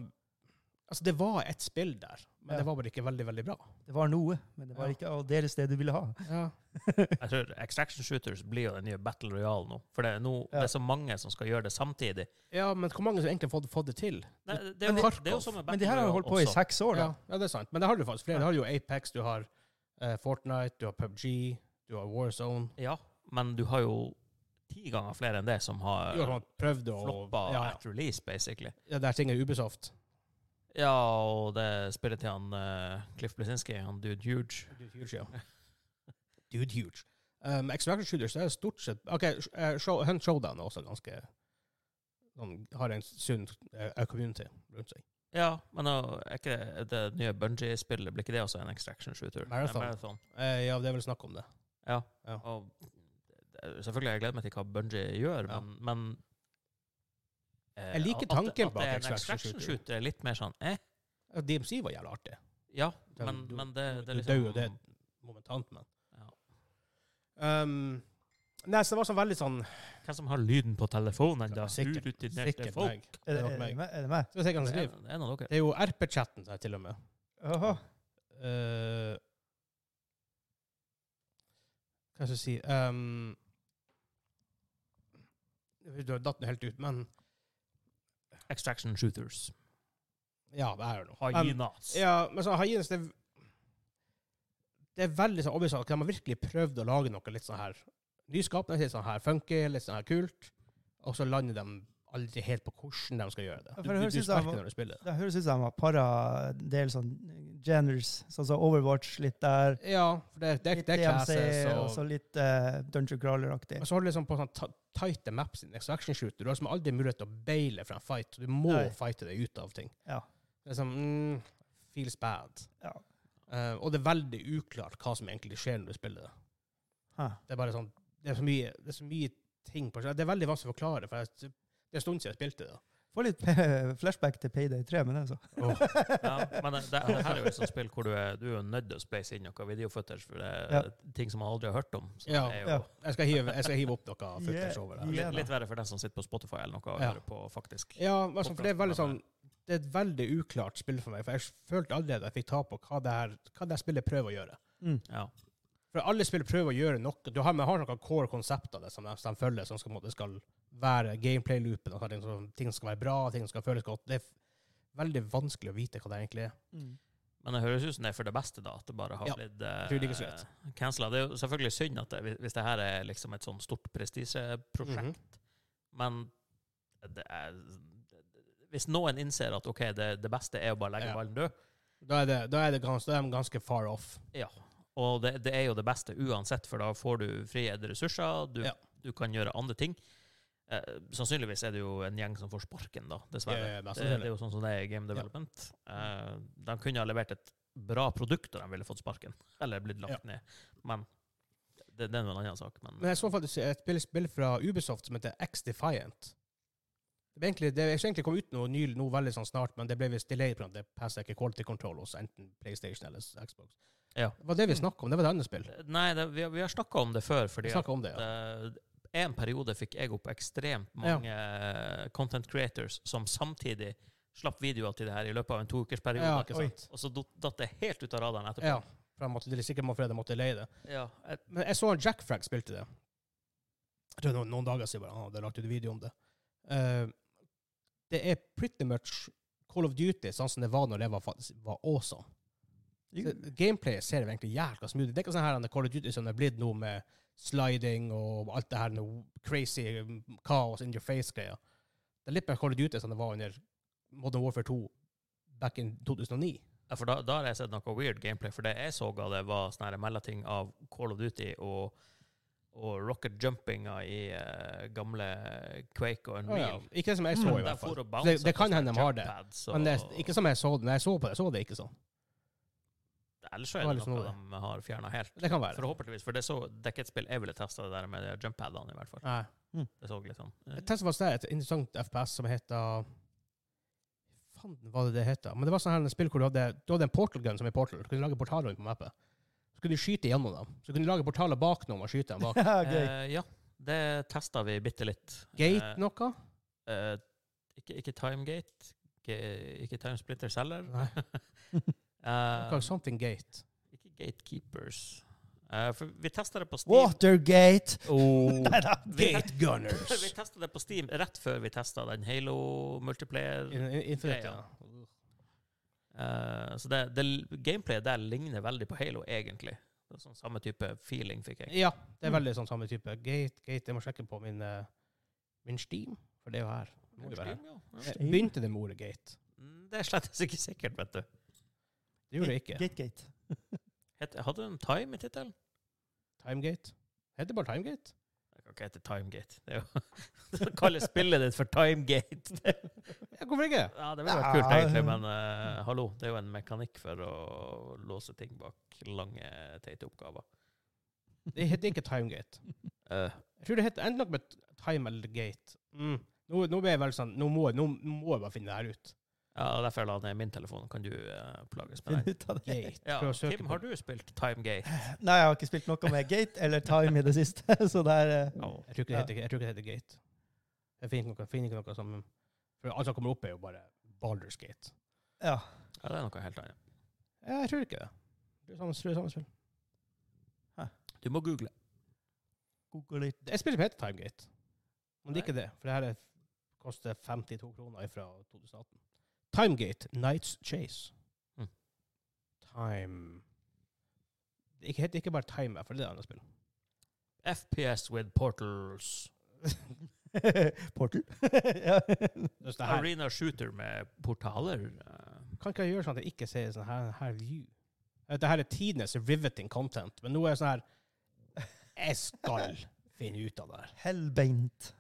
altså, det var et spill der, men
Ja.
det var bare ikke veldig, veldig bra.
Det var noe, men det var
Ja.
ikke av deres det du ville ha.
Ja.
Jeg tror Extraction Shooters blir jo den nye Battle Royale nå. For det er, nå,
Ja.
det er så mange som skal gjøre det samtidig.
men hvor mange som egentlig har fått, fått det til?
Nei, det, er jo,
Tarkov.
det er jo som med
Men
Battle
de her har jo holdt på i
Royale også.
seks år, da.
Ja, ja, det er sant. Men det har du faktisk flere. Du har jo Apex, du har eh, Fortnite, du har PubG, du har Warzone.
Ja, men du har jo ti ganger flere enn det som har
Du har sånn prøvd å
floppa
Ja, ja.
at release, basically.
ja, det er ting i Ubisoft.
Ja, og det spiller til han eh, Cliff Blesinski, han dude huge.
Dude huge, ja. Dude huge. Um, Extraction Shooters det er stort sett OK, sh- eh, show, Hunt Showdown er også ganske sånn, Har en sunn eh, community rundt seg.
Ja, men nå er ikke det, det nye Bungee-spillet, blir ikke det også en Extraction Shooter?
Marathon.
Nei, marathon.
Eh, ja, det er vel snakk om det.
Ja.
Ja.
Og det er- selvfølgelig, jeg gleder meg til hva Bungie gjør,
Ja.
men, men eh,
Jeg liker
at-
tanken
at,
bak
at det er en
extraction shooter.
extraction shooter. er litt mer sånn eh,
Ja, DMC var jævlig artig.
ja,
Du-
men,
du-
men det, det er
du
liksom
dør jo det. Momentant, men.
Ja.
Um, nei, så det var sånn veldig sånn
Hvem som har lyden på telefonen,
Ja,
da?
sikkert-
Urutinerte
Sikkert
folk. Eh,
meg.
Er
Det
det,
var
er, det
meg.
meg- er det meg?
Skal vi se hva han
Det er,
skriver.
det er noen av dere.
Det er jo RP-chatten der, til og med.
Aha.
Eh, hva skal jeg si um, Du har datt den helt ut, men
Extraction shooters.
ja, det er jo noe. Um,
Hyenas.
ja, men så Hyenas, det, det er veldig sånn obvious at de har virkelig prøvd å lage noe litt sånn her nyskapende, litt sånn her funky, litt sånn her kult, og så lander de aldri helt på hvordan de skal gjøre det.
Ja, for
Du,
det
du,
høres
du
ut som-
sverker når du spiller det.
Det høres ut som de har para en del sånn genres, sånn som Overwatch litt der,
Ja, for det, det,
litt
det er
DMC
classes
og så litt eh, Dungeon Crawler-aktig.
Men så har du liksom på sånn ta- tighte maps i next action shooter. Du har liksom aldri mulighet til å baile fra en fight. Du må
Nei.
fighte deg ut av ting.
Ja.
Det er sånn mm, Feels bad.
Ja.
Eh, og det er veldig uklart hva som egentlig skjer når du spiller det.
Hæ.
Det er bare sånn Det er så mye, det er så mye ting på Det er veldig vanskelig å forklare, for jeg, det er en stund siden jeg spilte det.
Får litt pe- <laughs> flashback til Payday 3, men det er så.
Ja, men det, det, det her er jo et sånt spill hvor du er, du er jo nødt til å space inn noe videofootage, for det er ting som man aldri har hørt om. Så
Ja.
det er jo
Ja.
Jeg skal hive, jeg skal hive opp noe footage
Yeah.
over
Yeah.
det.
litt, litt verre for den som sitter på Spotify eller noe og
Ja.
hører på, faktisk.
Ja, altså, for det er veldig sånn Det er et veldig uklart spill for meg, for jeg følte allerede at jeg fikk ta på hva det her, hva det her spillet prøver å gjøre.
Mm.
Ja.
For alle spill prøver å gjøre noe. Du har, men har noen core konsepter det, som de som de følger, som skal, på en måte skal være gameplay-loopen. og sånne ting, så Ting skal være bra, ting skal føles godt. Det er f- veldig vanskelig å vite hva det egentlig er.
Mm.
Men det høres ut som det er for det beste, da, at det bare har
Ja.
blitt
Tror det ikke er så lett.
eh, cancela. Det er jo selvfølgelig synd at det, hvis det her er liksom et sånn stort prestisjeprosjekt,
Mhm.
men det er Hvis noen innser at OK, det, det beste er å bare legge
Ja.
ballen død,
Da er, det, da, er det gans, da er de ganske far off.
og det, det er jo det beste uansett, for da får du frie ressurser, du,
Ja.
du kan gjøre andre ting. Eh, sannsynligvis er det jo en gjeng som får sparken, da, dessverre.
Det er eh, mest
Det, det er
sannsynlig.
jo sånn som det er i game development. Eh, de kunne ha levert et bra produkt, og de ville fått sparken. Eller blitt lagt ned. Men det, det er nå en annen sak. Men,
Men jeg så faktisk et spill, spill fra Ubisoft som heter X Defiant. Det, ble egentlig, det er egentlig kom ut noe nylig nå veldig sånn snart, men det ble visst delay på at det passer ikke quality control hos enten PlayStation eller Xbox.
Ja.
Det var det vi snakka om. Det var et annet spill.
nei, det, vi, har- vi har snakka om det før,
Vi
fordi at
snakket om det, ja.
eh, en periode fikk jeg opp ekstremt mange eh, content creators som samtidig slapp videoer til det her i løpet av en toukersperiode.
Ja, ikke
Oi.
sant.
Og så dot- datt det helt ut av radaren etterpå.
Ja, for jeg måtte, det er sikkert må- for jeg måtte leie det.
Ja, jeg-
Men jeg så han Jack Frag spilte det. Jeg tror noen, noen dager siden bare, han hadde lagt ut video om det. Eh, det er pretty much Call of Duty sånn som det var når det var, faktisk- var awesome. Så Gameplayet ser jo egentlig jævla smooth ut. Det er ikke sånn her han Call of Duty som det er blitt nå med sliding og alt det her noe crazy um, kaos in your face-greia. Det er litt mer Call of Duty som det var under Modern Warfare 2 back in 2009.
Ja, for da, da har jeg sett noe weird gameplay, for det jeg så av det, var sånne her mellomting av Call of Duty og, og rocket jumpinga i eh, gamle Quake og
Ja, ja.
Unreal.
Ikke det som jeg så, i
Men der
hvert
Mm. for
fall.
å bounce
Det, det
på
kan
sånne
hende de har det.
jumppads,
Men det,
og-
ikke som jeg så det. Når jeg så på det, så det ikke sånn.
Ellers så
det var
er det
liksom
noe
noe.
de har fjerna helt.
Det kan være.
Forhåpentligvis, for det, så, det er ikke et spill jeg ville testa, det der med de jump-padene, i hvert fall.
Nei.
Det så litt sånn eh,
Jeg testet faktisk det, et interessant FPS som heter Fanden hva det det heter. Men det var sånn her en spill hvor du hadde, du hadde en portal gun som i Portal. Du kunne lage portaler rundt på mappet. Så kunne du skyte gjennom dem. Så kunne du lage portaler bak noen og skyte dem
<laughs>
bak.
Ja, gøy.
eh, Ja, det testa vi bitte litt.
Gate noe?
Eh, eh, ikke, ikke Timegate. Ikke, ikke Time Splitter selger.
Nei.
<laughs> Eh,
Hva er Something Gate?
ikke Gatekeepers. Eh, for vi testa det på Steam.
Watergate!
Gate
<laughs> vi
Gunners.
testet det på Steam rett før vi testa den Halo multiplayer.
In- in- Infinite,
Ja,
ja.
Eh, så det, det gameplayet der ligner veldig på Halo, egentlig. Det er sånn samme type feeling fikk jeg.
Ja, det er veldig sånn samme type. Gate, gate, jeg må sjekke på min, eh, min Steam, for det er jo her. Det Må jo være her.
Steam, ja.
Eh, Begynte det med ordet gate?
Mm, Det er slett ikke sikkert, vet du.
Det gjorde det ikke.
Gategate.
Het, hadde den Time i tittelen?
Timegate? Heter det bare Timegate?
Det kan ikke hete Timegate. Det er jo <laughs> Å kalle spillet ditt for Timegate <laughs> det-
Ja, hvorfor ikke?
Ja, Det ville vært kult, egentlig, men eh, hallo, det er jo en mekanikk for å låse ting bak lange, teite oppgaver.
Det heter ikke Timegate.
Eh,
Jeg tror det heter enten noe med time eller gate. Mm. Nå, nå ble jeg veldig sånn, nå må, jeg- nå må jeg bare finne det her ut.
ja, og Derfor la jeg ned min telefon. Kan du eh, plages med
Finn
den?
ut av det.
Gate.
Ja,
Prøv å søke
Tim,
på
har
det.
du spilt Timegate?
<laughs> Nei, jeg har ikke spilt noe med Gate eller Time i det siste, <laughs> så det er eh,
Ja.
Jeg tror ikke det heter, jeg tror ikke det heter gate. Jeg finner ikke noe, finner ikke noe som... For alt som kommer opp er jo bare Baldur's Gate.
Ja.
Ja, det er noe helt annet.
Ja, Jeg tror ikke det. Det er samme, det er samme spill.
Du må google.
Google litt.
Det er et spill som heter Timegate. Men det er ikke det, for det her er, koster 52 kroner fra 2018. Timegate Nights Chase.
Mm.
Time Det er ikke- heter ikke bare Time, for det er et annet spill.
FPS with portals.
<laughs> Portal. <laughs> ja.
Det er sånn her,
Arena shooter med portaler. eh.
kan ikke jeg gjøre sånn at jeg ikke ser sånn her, her view? Dette her er tidenes riveting content, men nå er jeg sånn her Jeg skal finne ut av det her.
Hellbeint.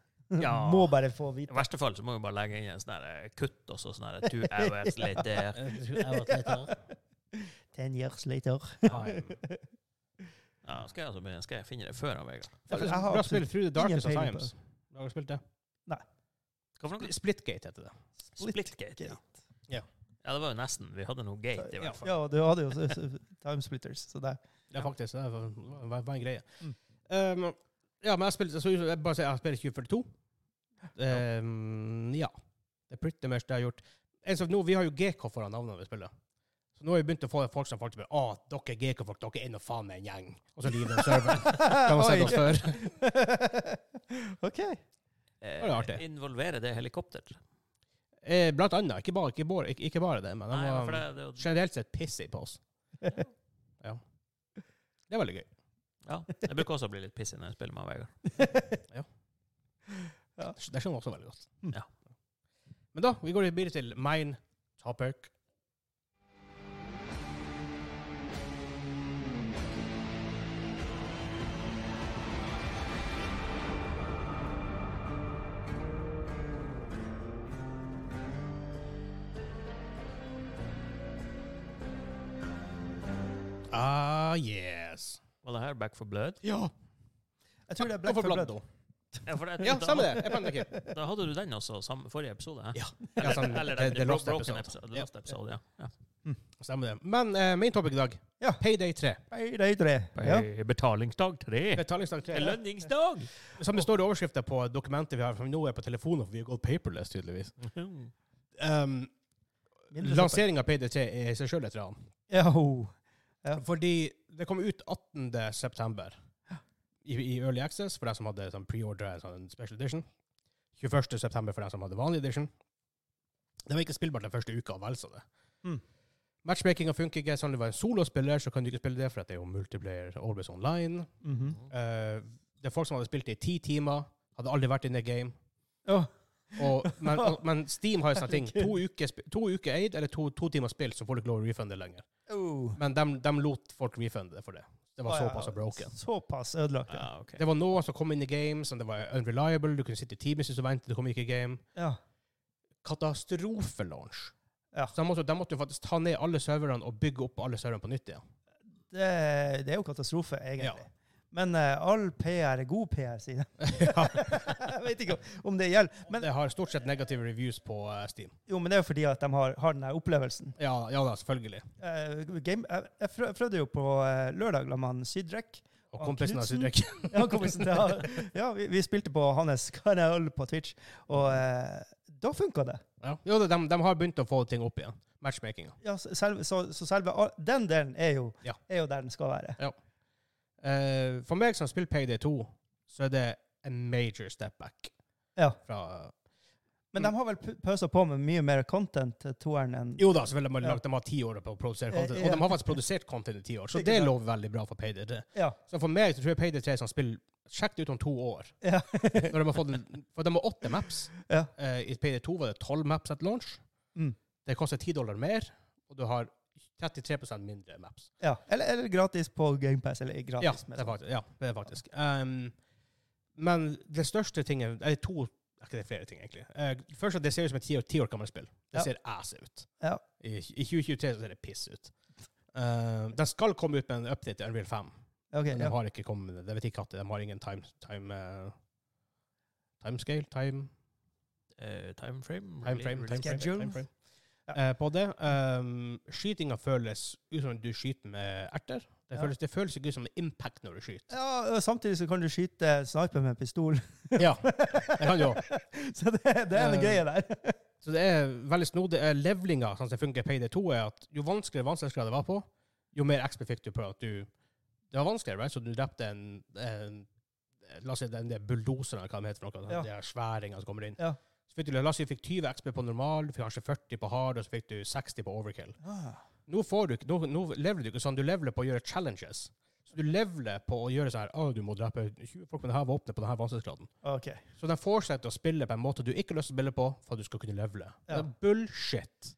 Ja.
<laughs> Må bare få
I
vite.
verste fall så må vi bare legge inn en sånn her, eh, kutt og så sånn her, two hours
<laughs>
later.
<laughs> Ten years later.
Time.
Ja, skal, jeg altså begynne, skal jeg finne det før han Vegard?
Jeg
Jeg har
har spilt Through the Darkest of
ingen peiling på
Times. Har du spilt det?
Hva for noe?
Splitgate heter det.
Splitgate. Ja.
Ja.
ja, det var jo nesten. Vi hadde noe gate i
Ja.
hvert fall.
Ja, du hadde jo så- så- Time Splitters, så det
Ja, faktisk. Det var, var, var en greie.
Mm.
Um, ja, men jeg spiller, så, jeg bare sier, jeg spiller 2042. Um, ja. Det er pretty much det jeg har gjort. En som, nå, vi har jo GK foran navnet vi spiller. Så nå har vi begynt å få folk som faktisk spør Å, dere er GK-folk, dere er nå faen meg en gjeng. Og så river de
<laughs>
serveren.
<laughs>
Kan
man sette oss før?
<laughs> OK.
Eh,
Var det artig?
Involverer det helikopter?
Eh, blant annet. Ikke bare, ikke bare, ikke, ikke bare det, men de
Nei,
var
for det, det, er jo-
generelt sett pissig på
<laughs>
oss. Ja. Det er veldig gøy.
ja. Jeg bruker også å bli litt pissig når jeg spiller med Vegard.
Det skjønner jeg også veldig godt.
Mm.
Ja.
Men da, vi går videre til main topic. Ah, yes.
Var det her Back for Blood?
Ja,
Jeg tror det er
Black
Black for Blood.
Blood.
<laughs> Ja, for det,
Ja,
da,
samme det. Jeg fant det
<laughs>
ikke.
Da hadde du den også, sam, forrige episode? hæ?
Ja.
Eller,
Ja, samme-
eller
det-
den
det
bro-
lost
broken
episode.
episode.
Ja.
The Lost episode, ja. ja.
Stemmer det. Men eh, main topic i dag,
Ja.
Payday
<laughs>
3.
Nei, det er tre. Ja.
På Eh, Betalingsdag tre.
Betalingsdag 3.
Lønningsdag!
Som det står i overskriften på dokumentet vi har, for nå er jeg på telefonen, for vi har gått paperless, tydeligvis.
Mhm.
Um,
Mindre
Lanseringa av PD3 er i seg sjøl et ran.
Ja, ho. Ja.
Fordi det kom ut 18.9. I, i Early Access, for deg som hadde sånn preordre, sånn special edition. 21.9. for deg som hadde vanlig edition. Det var ikke spillbart den første uka, vel så det.
Mm.
Matchmakinga funker ikke. Sånn du var en solospiller, så kan du ikke spille det, for at det er jo multiplayer always online.
Mhm.
Eh, det er folk som hadde spilt det i ti timer, hadde aldri vært in the game.
Ja.
Og, men, og, men Steam har jo sånne ting. To uker, sp- to uker aid, eller to, to timer spill, så får du ikke lov å refunde lenger.
Oh.
Men dem, dem lot folk refunde for det. Det var
Ah, ja.
såpass broken.
Såpass ødelagt, ja.
<laughs> Ja, ok.
Det var noen som kom inn i game, som det var unreliable, du kunne sitte i timevis og vente, du kom ikke i game.
ja.
Katastrofelaunch.
Ja.
Så de måtte, de måtte jo faktisk ta ned alle serverne og bygge opp alle serverne på nytt igjen.
Det, det er jo katastrofe, egentlig.
Ja.
Men eh, all PR er god PR,
<laughs>
sier de. <laughs> Jeg vet ikke om det gjelder. Men,
det har stort sett negative reviews på eh, Steam.
jo, men det er jo fordi at de har, har den her opplevelsen.
Ja, ja da, selvfølgelig.
Eh, game, jeg, jeg prø- prøvde jo på eh, lørdag la man Sydrek.
Og
Ah,
kompisen har
Knudsen?
Sudrek.
Ja, kompisen til
<laughs>
han. ja vi, vi spilte på hans kanal på Twitch, og eh, da funka det.
Ja. Jo, de, de har begynt å få ting opp igjen. Matchmakinga.
Ja, så selve, så, så selve a- den delen er jo,
Ja.
er jo der den skal være.
Eh, for meg som spiller Payday 2, så er det en major step back.
Ja.
Fra,
Men
Mm.
de har vel pu- pøsa på med mye mer content til toeren enn
jo da, selvfølgelig har de
Ja.
lagt, de har ti år på å produsere
Eh,
content.
ja.
Og de har faktisk produsert content i ti år, så
Ikke
det
sant?
lover veldig bra for Payday 3.
Ja. <laughs>
Så for meg så tror jeg Payday 3 som spill Sjekk det ut om to år.
ja. <laughs>
Når de har fått, en- for de har åtte maps.
Ja.
Eh, I Payday 2 var det tolv maps at launch.
Mm.
Det koster ti dollar mer, og du har 33 mindre maps.
ja. Eller, eller gratis på GamePass. Eller
Ja,
gratis.
det er faktisk. Ja, det er faktisk. Um, men det største tingen Eller to er ikke det flere ting, egentlig. Eh, først at det ser ut som et ti år, ti år gammelt spill. Det
Ja.
ser ass ut.
Ja.
I, I 2023 så ser det piss ut. Eh, den skal komme ut med en update til Unreal 5,
Ok,
men
ja.
de har ikke kommet med det. Jeg vet ikke at de har ingen time, time eh, Timescale? Time,
Eh, timeframe?
timeframe?
release-
timeframe,
schedule?
timeframe. Eh, på det. Um, Skytinga føles ut som du skyter med erter. Det
Ja.
føles, det føles ikke ut som impact når du skyter.
ja, og Samtidig så kan du skyte sniper med pistol. <laughs>
Ja, det kan du òg.
Så det, det er en
Eh,
greie
<laughs>
der.
Så det er veldig snodig. Eh, Levelinga, sånn som det funker i Payday 2, er at jo vanskeligere vanskelighetsgrad det var på, jo mer XP fikk du på at du Det var vanskeligere, right? Så du drepte en, en La oss si den der bulldoseren, eller hva de heter for noe.
Ja.
De her sværingene som kommer inn.
Ja.
Så fikk du, la oss si du fikk 20 XP på normal, du fikk kanskje 40 på hard, og så fikk du 60 på overkill. Nå, får du, ikke- nå, nå leveler du ikke sånn, du leveler på å gjøre challenges. Så du leveler på å gjøre sånn her, å, du må drepe 20 folk med dette våpenet på denne vanskelighetsgraden.
Ok.
Så de fortsetter å spille på en måte du ikke har lyst til å spille på, for at du skal kunne levele.
Ja.
Det er bullshit.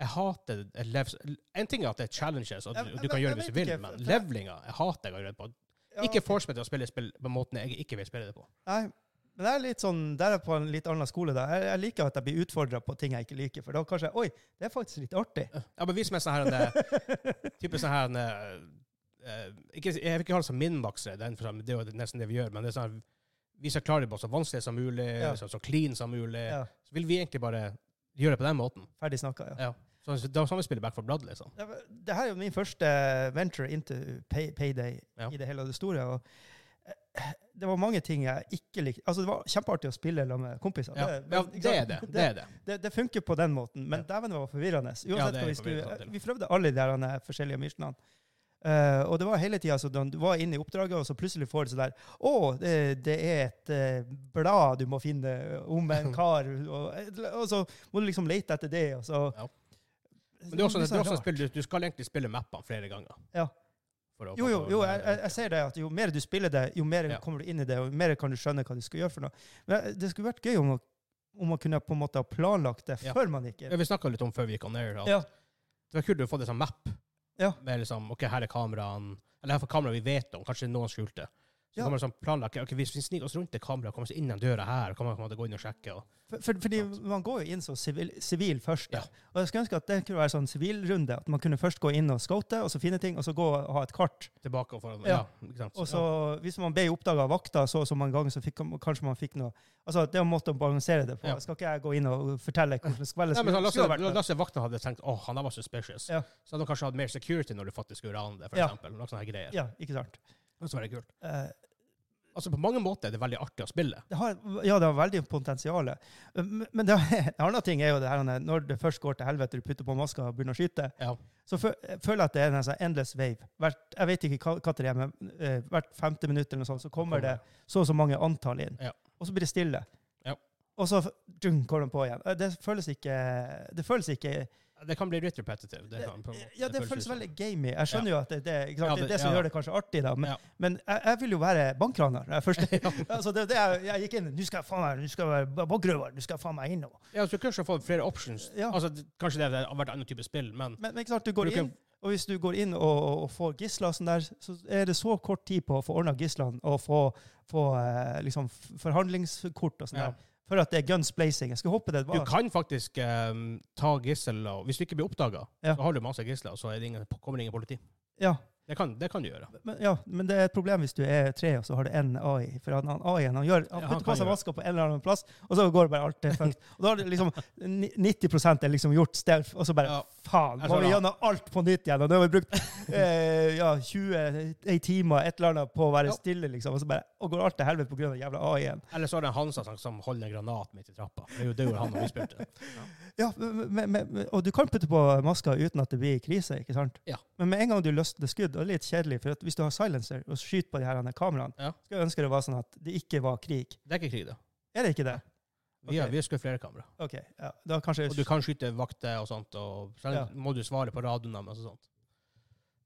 Jeg hater et lev... En ting er at det er challenges, og
Ja,
du,
men-
du kan gjøre
men
det hvis
jeg
du vil,
vet ikke,
men
for- for-
levelinga jeg hater jeg å gjøre det på.
Ja,
Ikke force meg til å spille spill på måten jeg ikke vil spille det på.
Nei, men det er litt sånn, der er jeg på en litt annen skole. da. Jeg, jeg liker at jeg blir utfordra på ting jeg ikke liker, for da kanskje jeg, Oi, det er faktisk litt artig.
Ja, men vis meg sånn her
<laughs>
en eh, Type sånn her en eh, eh, ikke, Jeg vil ikke ha det som min makse, det er en for seg, det er jo nesten det vi gjør, men det er sånn her Vi skal klare det på så vanskelig som mulig,
Ja.
så, så clean som mulig.
Ja,
Så vil vi egentlig bare gjøre det på den måten.
Ferdig snakka, ja.
Ja. Så, så, da skal vi spille Back for Blood, liksom.
Ja, men Det her er jo min første eh, venture into pay, payday
Ja.
i det hele og det store. og eh, det var mange ting jeg ikke likte. Altså, det var kjempeartig å spille sammen med kompiser.
Ja,
men-
ja
ikke
det er
sant?
det. Det er det.
det, det funker på den måten, men
Ja.
dæven, det var forvirrende. Uansett
Ja, det er
hva vi
forvirrende
skulle
til.
Vi prøvde alle de der andre forskjellige missionene. Eh, og det var hele tida sånn Du var inne i oppdraget, og så plutselig får du sånn der Å, det, det er et eh, blad du må finne om
<laughs>
en kar, og, og så må du liksom lete etter det, og så
Ja. Men det er også,
Litt
det er også
sånn
et spill du, du skal egentlig spille mappene flere ganger.
Ja.
For å-
Jo, jo,
for å-
jo jeg, jeg, jeg ser det at jo mer du spiller det, jo mer
Ja.
kommer du inn i det, og jo mer kan du skjønne hva du skal gjøre for noe. Men eh, det skulle vært gøy om, å- om man kunne på en måte ha planlagt det
Ja.
før man gikk
Ja,
inn.
vi snakka litt om før vi gikk on air. At
Ja.
Det var kult å få det som map.
Ja.
Med liksom, ok, her er kameraene, eller her er kameraet vi vet om, kanskje noen skjulte. Så
Ja.
kan man liksom planlegge, ok, hvis vi sniker oss rundt det kameraet, kommer oss inn den døra her, kan man på en måte gå inn og sjekke. Og,
For, for, fordi
Sant.
man går jo inn som sivil, sivil først. da.
Ja.
Og jeg skulle ønske at det kunne være sånn sivilrunde. At man kunne først gå inn og scoute, og så finne ting, og så gå og ha et kart.
tilbake og foran. Ja.
Ja.
ikke sant?
Og så hvis man ble oppdaga av vakta så og så mange ganger, så fikk, kanskje man fikk noe Altså det er en måte å balansere det på.
Ja.
Skal ikke jeg gå inn og fortelle hvordan spillet
Nei, men så
skulle, skulle ha vært?
Lasse, Lasse Vakten hadde tenkt åh, han der var suspicious.
Ja.
Så hadde han kanskje hatt mer security når du faktisk skulle rane det, for
Ja.
eksempel. Noen sånne her greier.
Ja, ikke sant.
Det var veldig kult.
Eh,
Altså, på mange måter er det veldig artig å spille.
det har, ja, det har veldig potensial. Men men det, <laughs> en annen ting er jo det her når det først går til helvete, du putter på maska og begynner å skyte,
Ja.
så fø- jeg føler jeg at det er en sånn endless wave. Hvert, jeg vet ikke hva- hva det er, men eh, hvert femte minutt eller noe sånt, så kommer det så og så mange antall inn.
Ja.
Og så blir det stille.
Ja.
Og så f- djung, kommer de på igjen. Eh, Det føles ikke Det føles ikke
Det kan bli litt repetitive. Det kan, på en måte.
Eh, Ja, det
ut
føles
som- <laughs>
veldig gamey. Jeg skjønner jo at det, det, ikke sant?
Ja,
det,
det-
er det som
ja.
gjør det kanskje artig, da. Men,
Ja.
men jeg, jeg vil jo være bankraner. når Jeg, først, altså, det, er det jeg, jeg gikk inn Nå skal jeg faen meg Nå skal jeg være bankrøver. Nå skal jeg faen meg inn nå.
Ja, så du kunne kanskje fått flere options.
Ja.
Altså, det- kanskje det har vært andre type spill, men
Men, men ikke sant, du går
Du kan-
inn, og hvis du går inn og, og- og får gisler og sånn der, så er det så kort tid på å få ordna gislene og få, få eh, liksom f- forhandlingskort og sånn
ja.
der. For at det er guns blazing. Jeg skulle håpe det
du
var
kan faktisk ehm, ta gisler, og hvis du ikke blir oppdaga,
Ja.
så har du masse gisler, og så er det ingen, kommer det ingen politi.
ja
Det kan, det kan du gjøre.
men, ja, men det er et problem hvis du er tre, og så har du én AI. For han, han AI-en han gjør, han
Ja, han
putter
kan
på seg
gjøre.
maska på en eller annen plass, og så går det bare alt til fucked. Og da har det liksom ni- 90 er liksom gjort stealth, og så bare
Ja.
faen!
Jeg
Må
skjønner.
vi gjennom alt på nytt igjen? Og nå har vi brukt eh, ja, 20 ei timer, et eller annet, på å
Ja.
være stille, liksom. Og så bare og går alt til helvete pga. jævla AI-en.
Eller så er det en Hansa som, som holder en granat midt i trappa. Det er jo det gjorde han når vi spilte.
Ja, men, men, men- og du kan putte på maska uten at det blir krise, ikke sant?
Ja.
Men med en gang du løsner skudd, og det er litt kjedelig, for at hvis du har silencer og skyter på de her andre kameraene,
Ja.
skulle jeg ønske det var sånn at det ikke var krig.
Det er ikke krig, da.
Er det ikke det?
Vi, har-
Ok.
vi har skutt flere kamera.
Ok, ja. Da kanskje...
Og du kan skyte vakter og sånt, og så
Ja.
må du svare på radioen deres og sånt.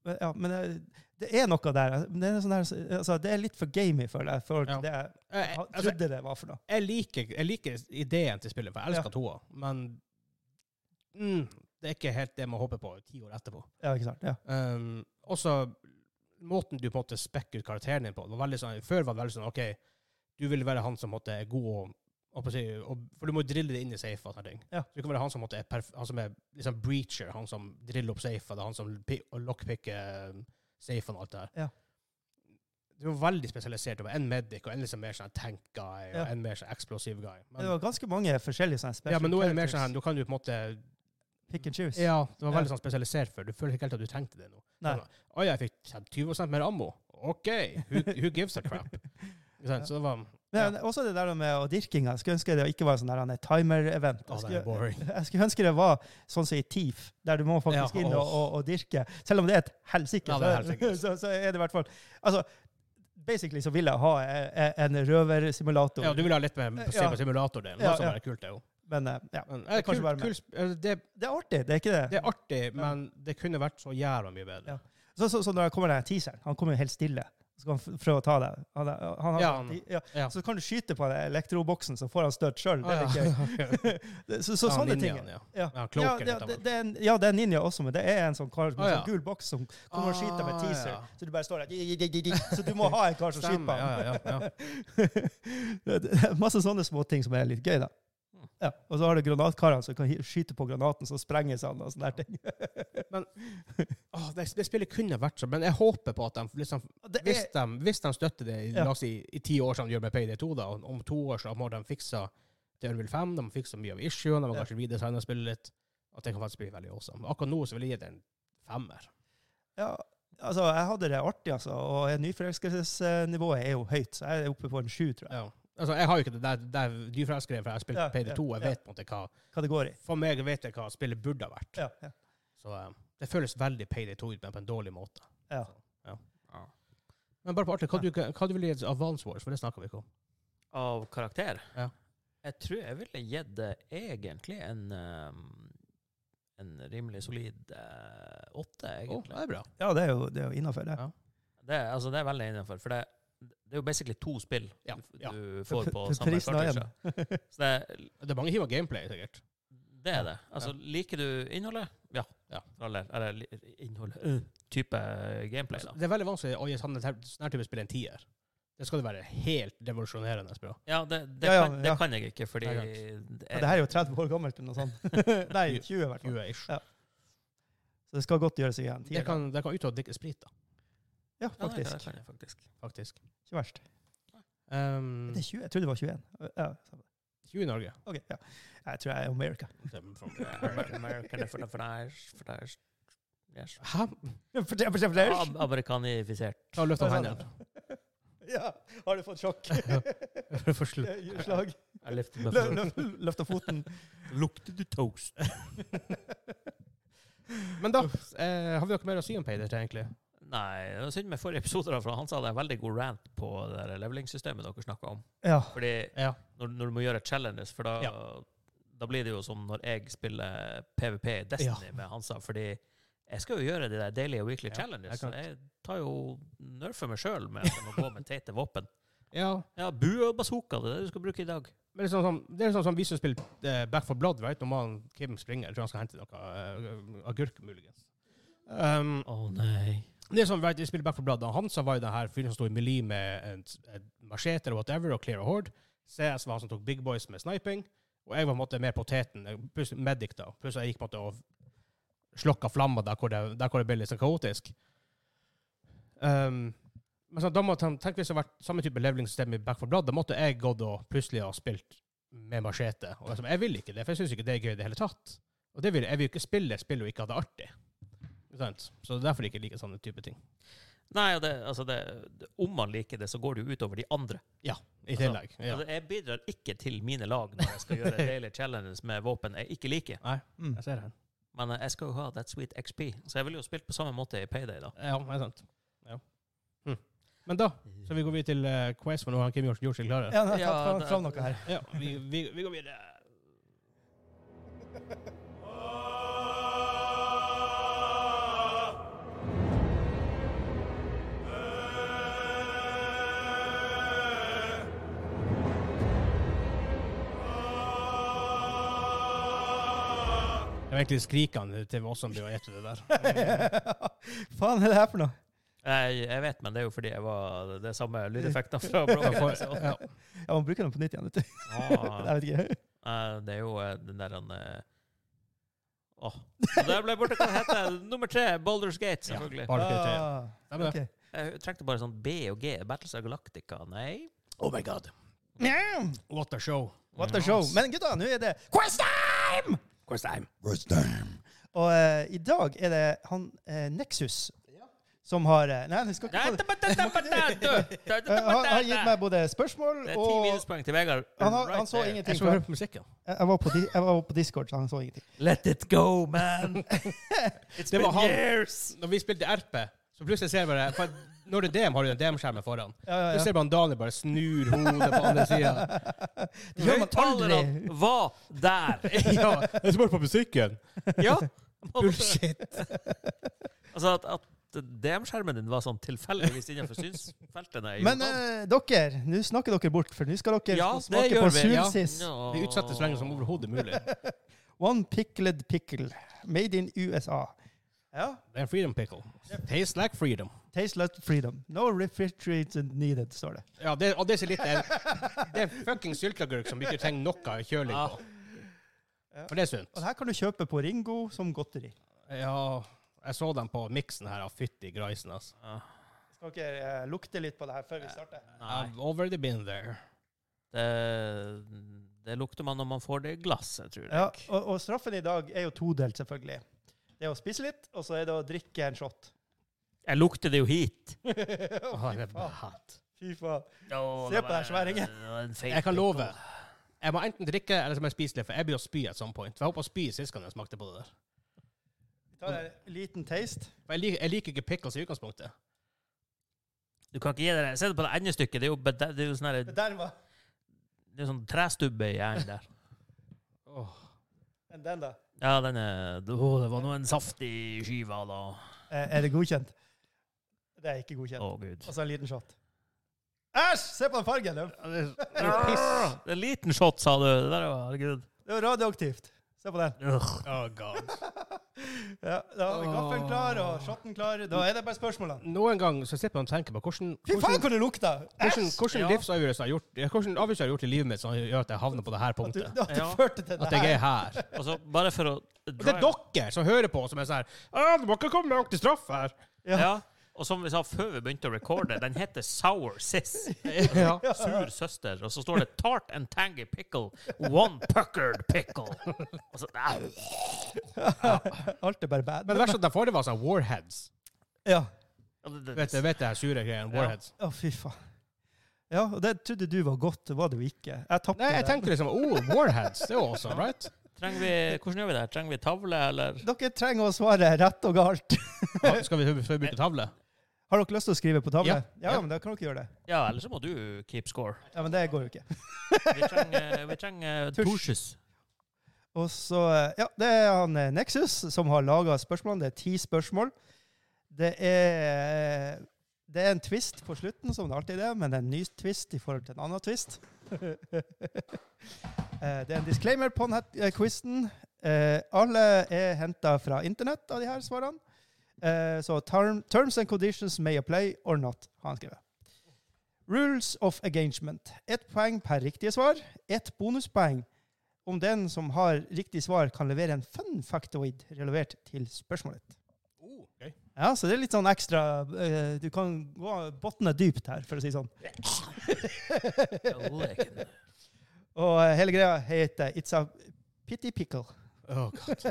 Men- Ja, men det, det er noe der. Men Det er, sånn der altså, det er litt for gamey, føler jeg, for
Ja.
det jeg
Jeg, jeg,
ha-
altså,
trodde det var for noe.
jeg, liker, jeg liker ideen til spillet, for jeg elsker toa, men mm, det er ikke helt det man håper på ti år etterpå.
Ja, ikke sant? Ja.
Um, også måten du på en måte spekker ut karakteren din på. Det var veldig sånn, før var det veldig sånn OK, du vil være han som måtte er god og, og, på å si- og For du må drille det inn i safe og sånne ting.
Ja.
Du kan være han som, måtte, er, perf han som er liksom breacher, han som driller opp safe, eller han som pi- og lockpicker um, safe og alt det der.
Ja.
Du var veldig spesialisert. Det var en medic og en liksom mer sånn tank guy og
Ja.
en mer sånn explosive guy.
det
Men,
var ganske mange forskjellige sånne special
ja, men nå er det mer
characters.
sånn her, nå kan du på en måte
Pick and choose.
Ja, det var
Ja.
veldig sånn spesialisert før. Du føler ikke helt at du trengte det nå.
Nei.
Å, jeg fikk 20 mer ammo. OK, who, who gives a crap? Ikke sant? Så det var ja.
Men også det der med og dyrkinga. Jeg skulle ønske det ikke var sånn der han er timer-event.
Å,
Jeg
det er
skulle-
boring.
<laughs> Jeg skulle ønske det var sånn som i TIF, der du må faktisk
Ja,
inn og,
åh.
og, og dyrke. Selv om det er et helsike,
Ja, det er
så,
helsikes.
så, <laughs> så er det i hvert fall Altså, basically så vil jeg ha eh, en røversimulator,
Ja, du vil ha litt mer se
Ja.
på simulatordelen. Det
Ja,
er som
ja.
er kult, det jo.
men eh, ja.
Men, eh,
Kanskje
kult-
bare meg.
kult sp- eh, det,
Det er artig, det er ikke det?
det er artig, men det kunne vært så jævla mye bedre.
Ja. Så, så, så når det kommer den teaseren, han kommer jo helt stille, så skal han f- prøve å ta deg. Han, er- han, har-
Ja, han-
ja.
Ja.
Så kan du skyte på den elektroboksen, så får han støt sjøl.
Ah, ja.
<laughs> Så, så
Ja,
sånne ting.
ninjaen, Ja.
Ja.
Ja,
Ja,
kloken
det,
heter
det,
han.
det er en, ja, det er en ninja også, men det er en sånn kar
Å,
med
ja.
sånn gul boks som kommer og skyter
Ah,
med teaser.
ja.
Så du bare står der di- di- di- di- Så du må ha en kar som
Stemmer,
skyter på
ja,
ham.
ja, ja, ja.
<laughs> Det- det er Masse sånne småting som er litt gøy, da. Ja. Og så har du granatkarene som kan hi- skyte på granaten, så sprenges han og sånne der ting.
Åh, Ah, det, det spillet kunne vært sånn, men jeg håper på at de liksom
Det
hvis
er,
de, hvis de støtter det i,
Ja.
la oss si, i ti år, som de gjør med PD2, da, og om to år så må de fikse til Ørvild 5, de må fikse mye av issuene, de må
Ja.
kanskje redesigne og spille litt. At det kan faktisk bli veldig awesome. Akkurat nå så vil jeg gi det en femmer.
ja, altså, jeg hadde det artig, altså. Og nyforelskelsesnivået er jo høyt, så jeg er oppe på en sju, tror jeg.
Ja. Altså, jeg har jo ikke det der, der dyreforelskeren, for jeg har spilt
Ja,
PD2,
ja,
jeg
ja.
vet på en måte hva
Kategori.
For meg vet jeg hva spillet burde ha vært.
Ja, ja,
Så eh, det føles veldig PD2 ut, men på en dårlig måte.
ja.
Men bare på artig, hva, du, hva du vil gi Advance Wars, for det snakker vi ikke om.
av karakter.
Ja.
Jeg tror jeg ville gitt det egentlig en ehm, en rimelig solid eh, åtte,
Å,
egentlig.
det er bra.
ja det er jo, det er jo innafor, det.
Ja.
Det, er- altså, det er veldig innenfor, for det, det er jo basically to spill
Ja,
du-
ja.
du får på
For
samme
prisen av en. <laughs>
kartridge. Så det, er-
Det er mange timer gameplay, sikkert.
det er det. Altså, Liker du innholdet? Ja.
Ja.
Eller, eller li- innholdet øh, Type gameplay, da.
Altså, Det er veldig vanskelig å gi sånn sånn her type spill en tier. Det skal det være helt revolusjonerende bra.
Ja, det, det,
Ja, ja,
kan, det
ja.
kan jeg ikke, fordi
Nei,
det
klart.
Ja, det her er jo 30 år gammelt eller noe <laughs> sånt. Nei, 20 i hvert fall.
20-ish.
Så det skal godt gjøres igjen.
Det kan, det kan ut og drikke sprit, da,
Ja,
Ja, det,
faktisk.
det kan jeg faktisk.
faktisk.
Ikke verst.
Um,
Det er 20. Jeg trodde det var 21. Ja, samme.
20 i Norge.
ok. Ja. Jeg tror jeg er America.
American for the Flash, for the Flash. Yes.
<laughs> Hæ?
For det, for det, for det.
Ab amerikanifisert.
Ta løft av hendene.
Ja, har du fått <laughs> sjokk?
For
<laughs>
slutt.
Slag?
Jeg løfter meg
Lø-
for-
lø- Løft av foten?
Lukter du toast?
Men da, eh, har vi noe mer å si om Payday, egentlig?
Nei, det var synd med forrige episode, da, for han sa det er en veldig god rant på det der leveling-systemet dere snakka om.
Ja.
Fordi
Ja.
når, når du må gjøre challenges, for da, da blir det jo som når jeg spiller PVP i Destiny med Hansa, fordi jeg skal jo gjøre de der daily og weekly
Ja,
challenges.
jeg kan-
så Jeg tar jo nerfer meg sjøl med at jeg må gå med teite våpen.
ja.
<laughs> Ja, bue og bazooka, det er det du skal bruke i dag.
Men det er sånn som, det er sånn som vi som spiller eh, Back for Blood, right? Når man, Kim springer, jeg tror han skal hente noe eh, agurk, muligens. Um,
Å nei.
Det er sånn, right, jeg spiller Back for Blood, og han som var jo den her fyren som sto i melee med en, en machete eller whatever, og clear a horde. CS var han som tok big boys med sniping, og jeg var på en måte mer poteten, pluss medic da, pluss jeg gikk på en måte og slokka flammer der hvor det, der hvor det ble litt sånn kaotisk. Um, men sånn, da måtte han, tenk hvis det hadde vært samme type leveling-system i Back for Blood, da måtte jeg gått og plutselig ha spilt med machete, og jeg, sa, jeg vil ikke det, for jeg synes ikke det er gøy i det hele tatt. Og det vil, jeg vil jo ikke spille et spill og ikke ha det artig. Ikke sant? Så det er derfor jeg ikke liker sånne type ting.
Nei, og det, altså det, om man liker det, så går det jo utover de andre.
I tillegg. Ja.
Altså, jeg bidrar ikke til mine lag når jeg skal
<laughs>
gjøre deilige challenges med våpen jeg ikke liker.
Nei,
Mm.
jeg ser den.
Men eh, jeg skal jo ha that sweet XP, så jeg ville jo spilt på samme måte i Payday, da.
Ja, det er sant. Ja. Hm. Men da så vi går videre til eh, quiz, for nå har Kim gjort, gjort seg klare.
Ja, nå har jeg
Ja,
tatt fram,
det-
fram noe her. <laughs>
Ja, vi, vi, vi går videre. Det var egentlig skrikende til oss som begynte å gjette det der.
Faen, er det her for noe?
Jeg, jeg vet, men det er jo fordi jeg var det er samme
<laughs>
lydeffekten fra Broken. Så.
Ja.
Ja, man bruker den på nytt igjen, vet du.
Ah,
<laughs> Jeg vet ikke.
eh, det er jo eh, den der han eh, Åh. Der ble jeg borte hva det heter. Nummer tre, Boulders Gate,
Ja,
selvfølgelig.
Baldur's Gate tre.
Ah,
Stemmer det.
ok.
Jeg trengte bare sånn B og G. Battles of Galactica, nei.
Oh my god.
Yeah,
What a show.
What a show. Men gutta, nå er det quiz time!
Quiz time.
Og eh, i dag er det han eh, Nexus som har eh, Nei, du skal ikke få det. Eh, han har gitt meg
Det
både spørsmål
er ti
og
minuspoeng til Vegard.
han, har, han
Right
så
there.
Jeg
ingenting.
skal
Jeg,
høre på musikken.
jeg, var på, di- jeg var på Discord, så han så ingenting.
Let it go, man! <laughs> It's
Det var
been
han.
years!
Når vi spilte RP, så plutselig ser jeg bare for Når det er DM, har du den DM-skjermen foran.
Ja, ja,
Du
<laughs> ja.
ser bare Daniel bare snur hodet på andre sida.
Det gjør man aldri.
Høyttalerne var der!
<laughs> Ja, jeg spør på musikken.
<laughs> Ja!
Bullshit.
Altså at, at DM-skjermen din var sånn tilfeldigvis innenfor synsfeltene. er jo
Men
sant.
eh, dere, nå snakker dere bort, for nå skal dere
Ja, det
få smake
gjør
på
vi, ja.
Sulsis.
Nå.
Vi utsetter så lenge som overhodet mulig. Det
One pickled pickle, made in USA. Ja.
er en freedom pickle. Tastes like freedom.
Taste like freedom. No refrigeration needed, står det.
Ja, det, og det er så litt Det er en fucking sylteagurk som ikke trenger noe kjøling på. For det er sunt.
Og det her kan du kjøpe på Ringo som godteri.
Ja, jeg så den på miksen her. og Fytti greisen, altså.
Ja.
Skal dere eh, lukte litt på det her før vi starter?
Nei,
I've already been there.
det, det lukter man når man får det i glasset, tror jeg.
Ja, og, og straffen i dag er jo todelt, selvfølgelig. Det er å spise litt, og så er det å drikke en shot. <laughs>
Jeg lukter det jo hit.
Å,
Åh,
fy
det er
faen.
bad.
Fy faen.
Å,
Se på
var-
den sværingen.
det var en feit
Jeg kan
pickle.
love. Jeg må enten drikke eller så må jeg spise litt, for jeg blir å spy at some point. For jeg håper å spy sist gang jeg smakte på det der.
Vi tar en liten taste.
For jeg liker, jeg liker ikke pickles i utgangspunktet.
Du kan ikke gi deg Se på det endestykket. Det er jo, bed- det er jo sånn her-
Det der var
det er sånn trestubbe i hjernen
<laughs>
der.
Men den, da.
Ja, den er Å, det var nå en saftig skive, da.
Eh, Er det godkjent? Det er ikke
Å,
godkjent.
gud.
Og så en liten shot. Æsj! Se på den fargen! det-
Ja, det-
Det er jo piss. Det er en liten shot, sa du. Det der var herregud.
Det er jo radioaktivt. Se på den.
Ugh.
Oh god.
Ja, da har vi gaffelen klar og shotten klar. Da er det bare spørsmålene.
Noen gang så sitter man og tenker på hvordan,
Fy faen,
hvordan,
hvor det lukter!
hvordan,
Æsj!
hvordan
Ja.
livsavgjørelser jeg har gjort, ja, hvordan avgjørelser jeg har gjort i livet mitt som gjør at jeg havner på det her
At du,
punktet.
at du
Ja.
førte til det
At jeg
her.
er her.
Og så bare for å
<laughs> Og det er dere som hører på, som er sånn her «Ah, Du må ikke komme med ordentlig straff her.
Ja. Og som vi sa før vi begynte å recorde, den heter Sour Sis.
Ja.
Sur søster. Og så står det Tart and Tangy Pickle. One Puckered Pickle. Og så, nei.
Alt er bare bad.
Men det verste er at de forrige var sånn warheads.
Ja.
Ja, det- det-
Vet du vet det her sure greien? Warheads.
Å, fy faen. Ja, og det trodde du var godt, det var det jo ikke. Jeg tapte
Nei, jeg
det.
tenkte liksom Oh, warheads. Det er jo awesome, right?
Trenger vi, hvordan gjør vi det? her? Trenger vi tavle, eller?
<laughs> Dere trenger å svare rett og galt.
Ja, Skal vi bruke tavle?
Har dere lyst til å skrive på tavle?
Ja.
Ja,
Ja.
men da kan dere gjøre det.
Ja, eller så må du keep score.
Ja, Men det går jo ikke.
Vi trenger, vi trenger
Tusj.
tusjes.
Og så, ja, Det er han eh, Nexus som har laga spørsmålene. Det er ti spørsmål. Det er, eh, det er en twist på slutten, som det alltid er, men det er en ny twist i forhold til en annen twist. <laughs> Eh, det er en disclaimer på denne eh, quizen. Eh, Alle er henta fra internett, av de her svarene. Eh, Så term, terms and conditions may apply or not, har han skrevet. Rules of engagement. Ett poeng per riktige svar. Ett bonuspoeng om den som har riktig svar, kan levere en fun factoid relevert til spørsmålet.
Oh, okay.
Ja, så det er litt sånn ekstra eh, Du kan gå bunnen er dypt her, for å si det sånn. Og eh, hele greia heter It's a pity pickle.
Oh, God.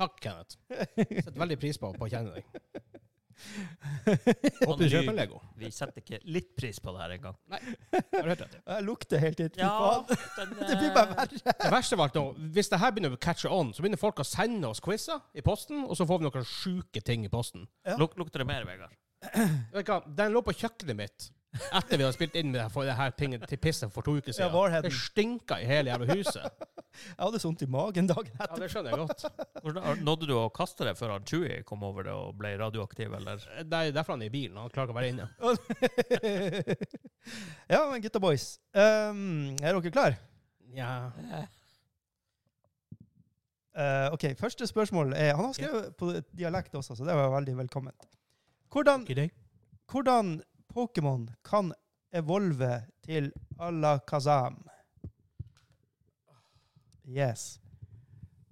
Takk, Kenneth. Setter veldig pris på, på å kjenne deg. Håper du kjøper en Lego.
Sånn, Vi setter ikke litt pris på det her engang.
Har du hørt det?
Jeg lukter helt hit.
Ja,
faen.
den,
<laughs> Det blir bare
eh,
verre.
Det verste var at nå, hvis det her begynner å catche on, så begynner folk å sende oss quizer i posten, og så får vi noen sjuke ting i posten.
Ja.
luk, Lukter det mer, Vegard?
Vet du hva? Den lå på kjøkkenet mitt etter vi hadde spilt inn med det her, for det her pingen til pisset for to uker
Ja,
siden.
Warheaden.
det stinka i hele jævla huset.
Jeg hadde så vondt i magen dagen
<laughs> Ja,
etter.
det skjønner jeg godt.
Hvordan- Nådde du å kaste det før han Chewie kom over det og ble radioaktiv, eller?
Det er derfor han er i bilen. Han klarer ikke å være inne.
<laughs> ja, men gutta boys. Um, er dere klare?
Ja.
Eh, OK, første spørsmål er Han har skrevet på dialekt også, så det var veldig velkomment. Hvordan,
Ikke deg.
hvordan Pokémon kan evolve til Alakazam? Yes.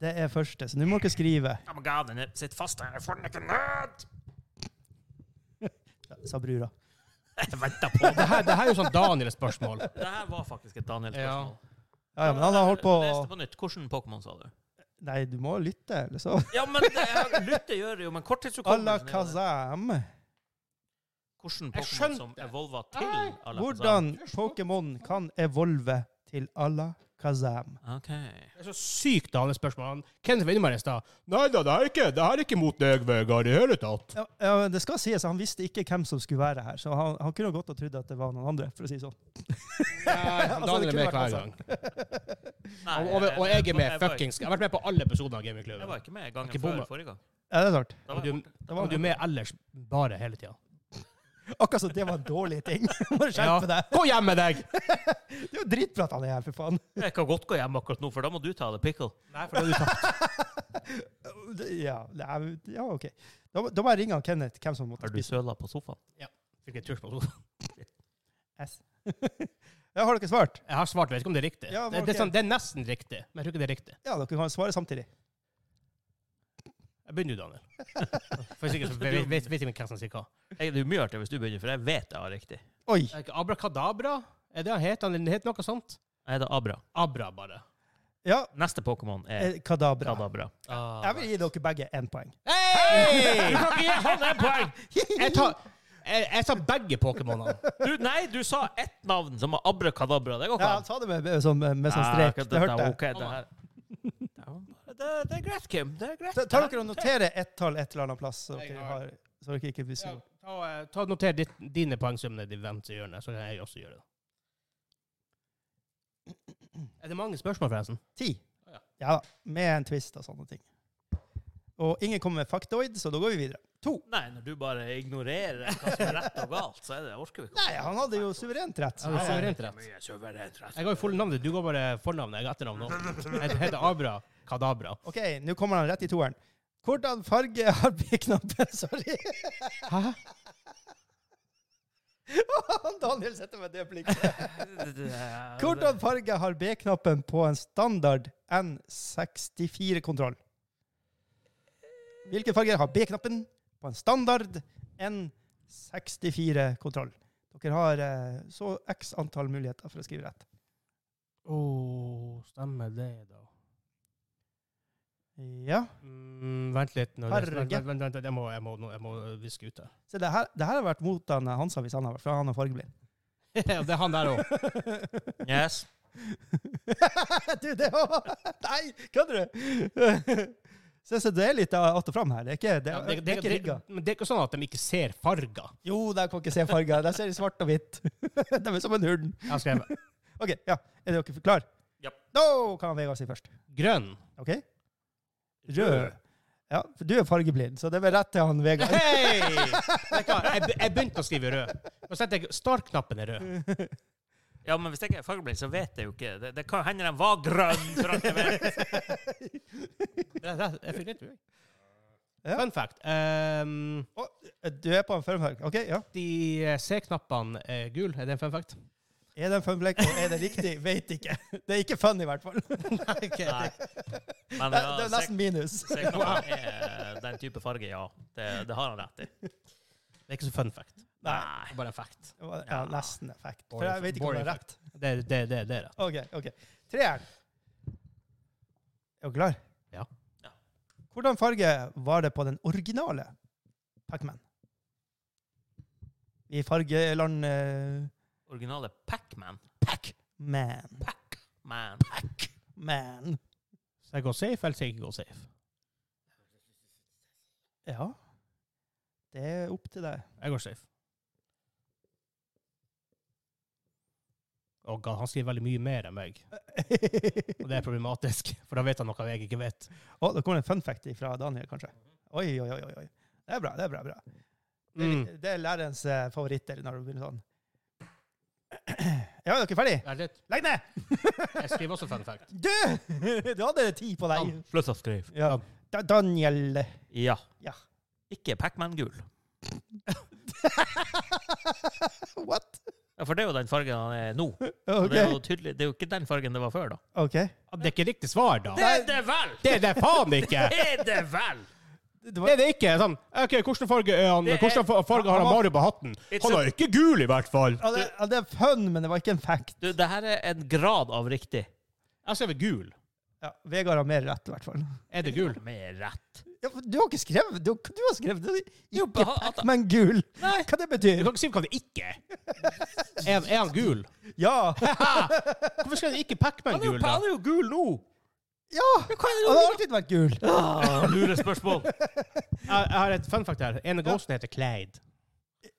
Det er første, så nå må dere skrive,
Oh my god, den sitter fast her. Jeg får den ikke ned!
sa brura.
Jeg venta på
Det
det.
her, det her er jo sånn Daniel-spørsmål.
<laughs> Det her var faktisk et Daniel-spørsmål.
Ja, ja, men han har holdt på
Leste på nytt. Hvordan Pokémon sa du?
Nei, du må lytte, eller så.
Ja, men det jeg lytter gjør det jo, men korttidshukommelsen er jo det. Hvordan
Alakazam.
Jeg
Pokémon
skjønte
som evolva til Alakazam?
Hvordan Pokémon kan evolve til Alakazam?
OK.
Det er så sykt Daniel-spørsmål. Han- Kenneth var inne med det i stad. Nei da, det er ikke, det er ikke mot deg, Vegard, i hele tatt.
Ja, ja, det skal sies, han visste ikke hvem som skulle være her, så han, han kunne godt ha trodd at det var noen andre, for å si det sånn.
Nei,
Altså,
Daniel
det
er
kunne
med
vært
hver
han
gang.
Nei,
Og, og, og jeg er med
var-
fuckings Jeg har vært med på alle episoder av
Jeg
Gamingklubben.
var ikke med gangen
Ikke
før
bomma.
forrige gang.
Ja, det er sant.
Da
Og
var jeg
du-
borte.
Det
Og
var,
du er med ellers bare hele tida.
akkurat som det var en dårlig ting. <laughs> Må
Ja.
du skjerpe deg.
Gå hjem med deg!
Det er jo dritbra at han er her, for faen.
Jeg kan godt gå hjem akkurat nå, for da må du ta det pickle.
Nei, for da er du tatt.
Det- Ja, det er- ja OK. Da, må- da må jeg ringe han Kenneth, hvem som
Har
måtte
du
spise
søla på sofaen?
Fikk et turs på sofaen.
S. ja, har dere svart?
Jeg har svart, vet ikke om det er riktig.
Ja,
det,
men
det, er
ok.
sånn, det er nesten riktig, men jeg tror ikke det er riktig.
Ja, dere kan svare samtidig.
Jeg begynner du, Daniel.
<laughs>
For sikkert så vet- vet vet ikke hvem som sier hva.
Jeg, det er jo mye artigere hvis du begynner, for jeg vet jeg har riktig.
Oi!
Er det ikke Abrakadabra? Er det han het? Han het noe sånt?
Nei, det er Abra.
Abra, bare.
Ja,
Neste Pokémon er
eh, kadabra.
Kadabra.
Ah.
Jeg vil gi dere begge én poeng.
Hei! Du kan ikke gi han et poeng! Jeg tar, jeg, jeg tar begge <laughs> Pokémonene.
Du, nei, du sa ett navn som var Abra Kadabra. Det går ikke
Ja, han
an. Ah,
sa det med, med, sånn, med sånn strek.
Nei,
Det hørte jeg.
ok, det her. Det er bare- Det, det er greit, Kim. Det er greit.
Ta- Tar dere og noterer ett tall et eller annet plass, så
Jeg
dere,
har-
har, så dere ikke blir
Ja,
sure?
ta, eh, ta og Noter ditt, dine poengsummer nede i venstre hjørne, så kan jeg også gjøre det. Er det mange spørsmål, forresten?
Ti.
Ja.
Ja da. Med en twist og sånne ting. Og ingen kommer med factoid, så da går vi videre. To.
Nei, når du bare ignorerer hva som er rett og galt, så er det, orker vi ikke.
Nei, han hadde jo suverent rett.
Ja, det er suverent rett.
Mye suverent rett.
Jeg går i fulle navn. Du går bare fornavnet. Jeg har etternavn nå. Jeg heter Abra Kadabra.
OK, nå kommer han rett i toeren. Hvordan farge <laughs> har B-knappen? Sorry. <laughs>
Hæ?
Han Daniel setter meg det blikket.
Hvordan?
Hvordan farge har B-knappen på en standard N64-kontroll? Hvilke farger har B-knappen på en standard N64-kontroll? Dere har eh, så x antall muligheter for å skrive rett.
Å, stemmer det, da.
Ja.
Mm, vent litt. nå. Vent,
Farge.
vent, vent, vent, jeg må, jeg må, nå- jeg må øh, viske ut det.
Så det her, det her har vært mot han, eh, Hansa hvis han har vært, for han er fargeblind.
<laughs>
<laughs>
Ja, det er han der òg.
Yes.
du, det var Nei, kødder du? <laughs> Se, så det er litt av att og fram her. Det er ikke, det,
Ja,
er- det er ikke rigga.
Men det er ikke sånn at de ikke ser farger.
Jo, der kan ikke se farger. Der ser de svart og hvitt. <laughs> De er som en hund.
Jeg har skrevet
OK, ja. Er dere klar?
Ja.
Da kan Vegard si først.
grønn.
OK? Rød. Ja, for du er fargeblind, så det blir rett til han Vegard.
Hei! Vet du hva, Jeg, be- jeg begynte å skrive rød. Nå setter jeg Start-knappen er rød.
Ja, men hvis jeg ikke er fargeblind, så vet jeg jo ikke. Det, det kan hende den var grønn. For alt jeg vet.
Det, det, jeg fikk litt rød.
Ja.
Fun fact. ehm,
<laughs> Du er på en femfarg. OK, ja.
de eh, C-knappene er gule. Er det en fun <laughs> fact?
Er det en femflekk, og er det riktig? Vet ikke. Det er ikke fun, i hvert fall. Det
Nei. Men
er, det
ja,
er
sek-
nesten minus.
seknappen er eh, den type farge, ja. Det, det har han rett i.
Det er ikke så fun fact.
Nei.
Det er bare en fact.
Ja, nesten effekt. For jeg vet ikke om
Boring
det er rett.
Det, det, det, det er rett.
OK. ok. Treeren. Er du klar?
Ja.
Ja.
Hvordan farge var det på den originale Pacman? I fargeland eh,
Originale Pac-Man.
Man.
Pac-Man.
Man.
Så jeg går safe, eller ikke går safe?
Ja. Det er opp til deg.
Jeg går safe. Å god, han skriver veldig mye mer enn meg, og det er problematisk. For da vet han noe jeg ikke vet.
Å, det kommer en fun fact fra Daniel, kanskje. Oi, oi, oi. oi. oi. Det er bra. Det er bra. bra. Det, er,
Mm.
litt- det er lærerens eh, favoritter når du begynner sånn. <clears throat> Ja, er dere ferdig?
Vent litt.
Legg ned!
Jeg skriver også fun fact.
Du! Du <laughs> hadde ti på deg.
Slutt å skrive.
Ja.
Dan.
Da, Daniel.
Ja.
Ja.
Ikke Pac-Man-gul.
<laughs> What?
Ja, for det er jo den fargen han er nå. Og
OK.
Det, er jo tydelig, det er jo ikke den fargen det var før, da.
ok.
Det er ikke riktig svar, da.
Det er det vel!
Det er <laughs> det faen ikke!
Det er det vel!
Det
Det
var,
er det ikke. Sånn, ok, Hvilken farge er han?
Det er-
Hvilken fa- farge har han Mario på hatten?
It's
Han
a-
har ikke gul, i hvert fall.
ja, det, ja, det er fun, men det var ikke en fact.
Du, det her er en grad av riktig.
Jeg skriver gul.
Ja, Vegard har mer rett, i hvert fall.
Er det gul?
Med rett.
Ja, for du har ikke skrevet Du, du har skrevet det. Ikke
beha- at-
Pac-Man gul.
Nei.
Hva det
Du
betyr?
kan ikke si hva det ikke er. Er han- Er han gul?
Ja!
Hvorfor skal han ikke Pac-Man
Han er jo,
gul, da?
han er jo gul nå!
Ja! Han har alltid vært gul.
Ah, Lurespørsmål.
Jeg, jeg har et fun fact her. En av gåsene heter Clyde.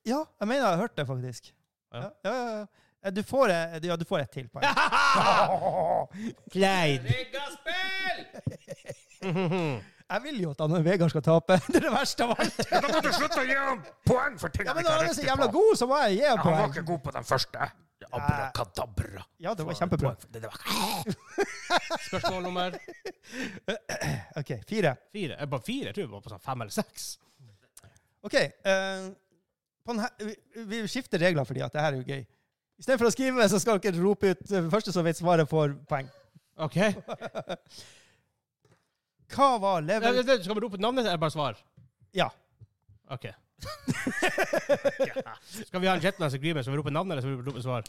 Ja, jeg mener jeg har hørt det, faktisk.
Ja.
Ja, ja, ja, ja. Eh, Du får, eh, ja, du får et til poeng.
Clyde.
Riggaspill!
Jeg vil jo at han og Vegard skal tape. <laughs> Det er det verste av alt.
Da må du slutte å gi ham poeng for ting
Ja,
han
men
ikke
da er
har
han så
riktig
jævla
på.
god, så må jeg gi ham
Han var
poeng.
ikke god på den første. Abrakadabra.
Ja, det var kjempebra.
Det var
<laughs> Spørsmål nummer
OK, fire.
fire. Jeg bare fire, jeg tror jeg var på sånn fem eller seks.
OK. eh, på den her, vi, vi skifter regler fordi at det her er jo gøy. Istedenfor å skrive, så skal dere rope ut eh, første som vet svaret, får poeng.
OK?
Hva var
Ja,
level
det- det- Eh, Skal vi rope ut navnet, eller bare svar?
Ja.
<laughs> OK. Skal vi ha en Jetlands agreement, så vi roper navnet, eller så vi roper svar?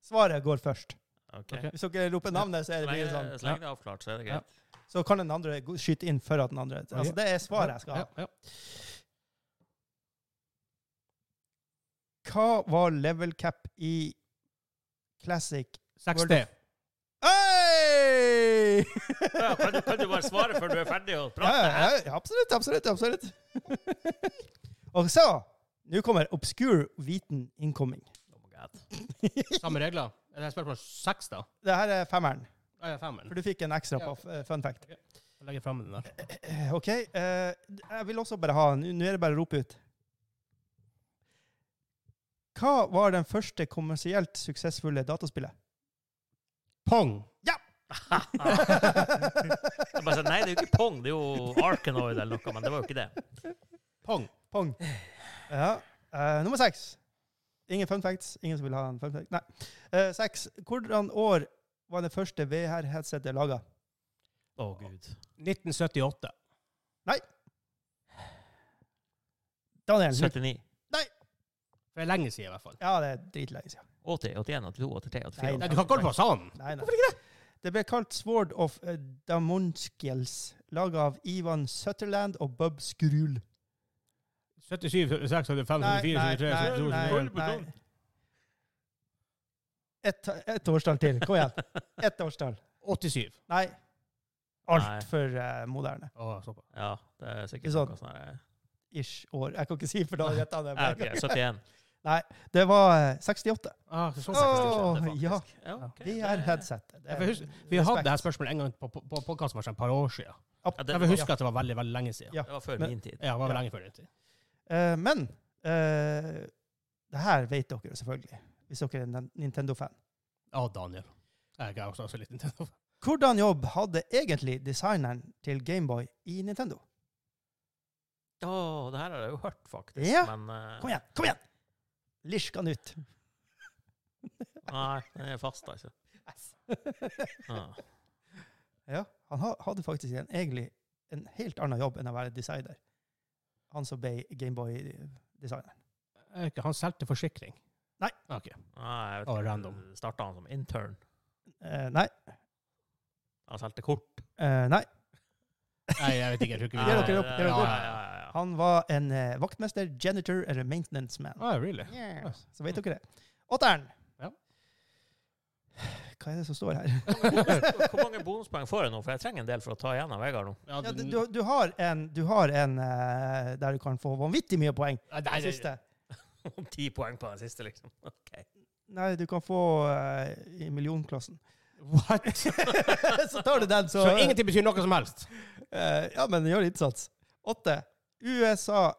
Svaret går først.
Ok.
Hvis dere roper navnet, så er
Så
det mye
lenge,
sånn.
så lenge det er avklart, så er det
Ja.
greit.
Så kan den andre gå- skyte inn før at den andre Altså, det er svaret jeg skal ha.
Ja, ja.
Hva var level cap i Classic?
6D. <laughs>
Hey!
Ja, kan, du, kan du bare svare før du er ferdig og
Ja,
prate?
ja, ja, absolutt, absolutt, absolutt.
<laughs>
Og så, nå kommer obscure viten incoming.
Oh my God.
Samme regler. Er det spørsmål seks, da?
Det her er femmeren,
Mm.
Ja, ja, femmeren.
for du fikk en ekstra på
Ja.
f- eh, fun fact.
Jeg legger frem den der.
Eh, OK, eh, jeg vil også bare ha en. Nå er det bare å rope ut. Hva var den første kommersielt suksessfulle dataspillet?
Pong.
Ah. <laughs> Jeg bare sa, nei, det er jo ikke Pong, det er jo Arkanoid eller noe, men det var jo ikke det.
Pong.
Pong. Ja. eh, nummer seks. Ingen fun facts. Ingen som vil ha en fun fact. Nei. Eh, seks. Hvordan år var det første VR-headsetet laga?
Å, Gud.
1978.
Daniel. nå-
79,
For det er lenge siden, i hvert fall.
Ja, det er dritlenge siden.
80, 81, 82, 83, 84.
Nei, du kan ikke holde på sånn!
Nei, nei. Hvorfor ikke det? Det ble kalt Sword of eh, Damonskiels, laga av Ivan Sutherland og Bub Skrul.
77, 76, 75, 74, 73, 72,
Ett et årstall til. Kom igjen. Ett årstall.
87.
Nei.
Nei.
Altfor uh, moderne.
Å, såpass.
Ja, det er
Ikke
sikkert
sant?
noe sånn her.
Ish år. Jeg kan ikke si, for da gjetta jeg det.
Ja, ok, 71.
Det var eh, 68.
Ah, så
Åh,
sånn.
ja.
Ja, ok.
Vi er headset.
Ja, for husk- Vi hadde det her spørsmålet en gang på, på, på podkasten for et par år siden.
Ja, det,
Jeg vil huske at det var veldig veldig lenge siden.
Ja.
det var før
Men-
min tid.
Ja, det var
Ja.
lenge før den tid.
Eh, men eh, det her vet dere selvfølgelig, hvis dere er en Nintendo-fan.
Å, Daniel. Jeg er også, også litt Nintendo.
Hvordan jobb hadde egentlig designeren til Gameboy i Nintendo?
Å, det her har jeg jo hørt, faktisk.
Ja.
Men eh,
Kom igjen! kom igjen! Lish kan ut. <laughs>
Nei, den er fast, altså. Ah.
Ja, han ha- hadde faktisk en, egentlig en helt annen jobb enn å være designer. Han som ble Gameboy-designer.
Er ikke Han solgte forsikring.
Nei.
Ok.
Nei, jeg vet
Å,
ikke.
random.
Starta han som intern?
Eh, nei.
Han solgte kort?
eh, nei.
Nei, jeg vet ikke. Jeg tror ikke
Gjør
vi
dere opp, gjør
Ja,
dere opp.
ja, ja, ja, Ja.
Han var en eh, vaktmester, janitor eller maintenance man.
Ah, really?
Ja, Så vet dere det. Åtteren.
Ja.
Hva er det som står her?
Hvor mange bonuspoeng får jeg nå? For jeg trenger en del for å ta igjen av Vegard nå.
Ja,
Ja,
du,
du, du, du har en, du har en eh, der du kan få vanvittig mye poeng.
Nei,
Den siste.
Ti poeng på den siste, liksom. Ok.
Nei, du kan få eh, i millionklassen.
What?
<laughs> så tar du den, så,
Så ingenting betyr noe som helst?
Eh, ja, men gjør innsats. Åtte. USA,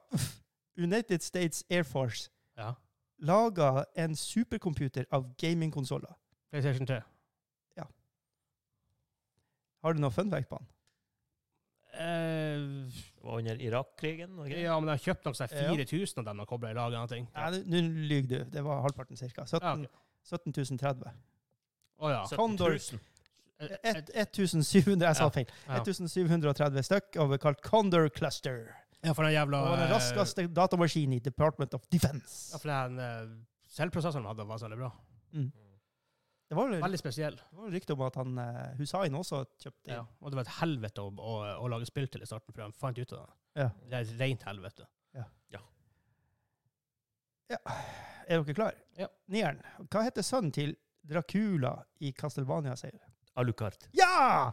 United States Air Force,
Ja.
laga en supercomputer av gamingkonsoller.
PlayStation 3.
Har du noe fun fact på den?
<laughs>
Eh,
Det var under Irak-krigen og greier.
ja, men de kjøpte nok seg
Ja.
4000 av dem og kobla i lag. og ting.
Nei, nå- Nå lyver du. Det var halvparten, ca. 17,
Ja, ok.
17.030.
Å ja. Eh,
17
Condor.
000.
Et- et-
1730. Jeg sa
Ja,
feil.
ja.
1730 stykk, og vi kalt Condor Cluster.
Ja, for den jævla
Det var den
eh,
raskeste datamaskinen i Department of
Ja,
Defense.
for den eh, selvprosessoren de hadde, var så veldig bra.
Det var vel
Veldig spesiell.
det var vel rykte om at han eh, Hussein også kjøpte
Ja.
inn.
Og det var et helvete å, å, å lage spill til i starten, for de fant ut av det.
Ja.
Det er et rent helvete.
Er dere klar?
Ja.
Nieren. Hva heter sønnen til Dracula i Castlevania, sier du?
Alucard.
Ja!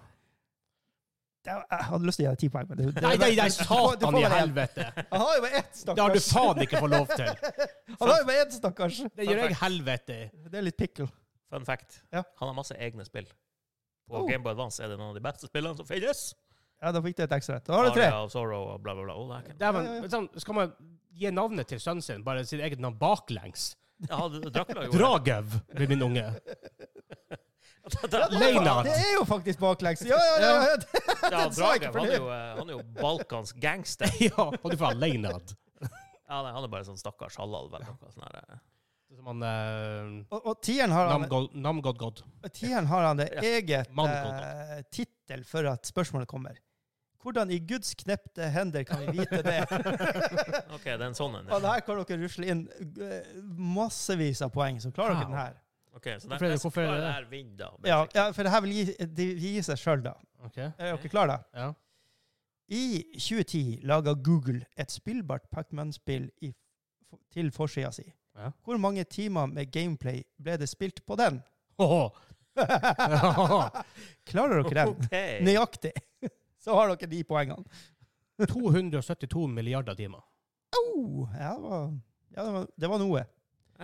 Det var, jeg hadde lyst til å gi deg ti poeng, men det, det,
Nei, nei, nei,
<laughs> du får- du får
satan i
bare en.
helvete!
<laughs> Han har jo bare ett,
Det har du
stakkars.
faen ikke fått lov til!
Han har jo bare ett, stakkars.
Det gjør jeg helvete i.
Det er litt pickle.
Fun fact.
Ja.
Han har masse egne spill. På
Oh.
Game Boy Advance er det noen av de beste spillene som finnes.
Ja, da fikk du et ekstra rett. Da har du tre.
Aria of Sorrow og bla, bla, bla. Oh, det er ikke-
Dæven,
Ja, ja, ja.
sånn, skal man gi navnet til sønnen sin, bare sitt eget navn baklengs?
Ja, hadde-
<laughs>
Dracula gjorde det. <laughs>
Dragev blir min unge.
<laughs>
Leynard.
Det er jo faktisk baklengs. Ja, ja, ja. ja.
Ja,
Den sa jeg
Dragev,
ikke
han
for
er
det.
jo, eh, han er jo Balkans gangster.
Ja, og du får ha Leynard.
Ja, nei, han er bare sånn stakkars halvhalv eller noe sånn her. eh.
Det er Som han eh,
Og, og tieren har han,
Namgod Namgod God.
tieren har han det
Ja.
eget
Mandelgott.
eh, tittel for at spørsmålet kommer. Hvordan i Guds knepte hender kan vi vite det?
<laughs>
OK, det er en sånn en.
Og
ja.
der kan dere rusle inn eh, massevis av poeng, så klarer dere den her.
Ok, så den
Hvorfor er det-
neste
hvorfor er det
klarer er Vind, da.
Ja, ja, for det her vil gi, det vil gi seg sjøl, da.
Ok,
Er dere klare, da?
ja.
I 2010 laga Google et spillbart Pacman-spill i- til forsida si.
Ja.
Hvor mange timer med gameplay ble det spilt på den? <laughs>
Åhå. <laughs>
Klarer dere den?
Ok.
Nøyaktig. <laughs> Så har dere de poengene.
272 milliarder timer.
Au! Oh, ja, det var, ja, det var, det var noe.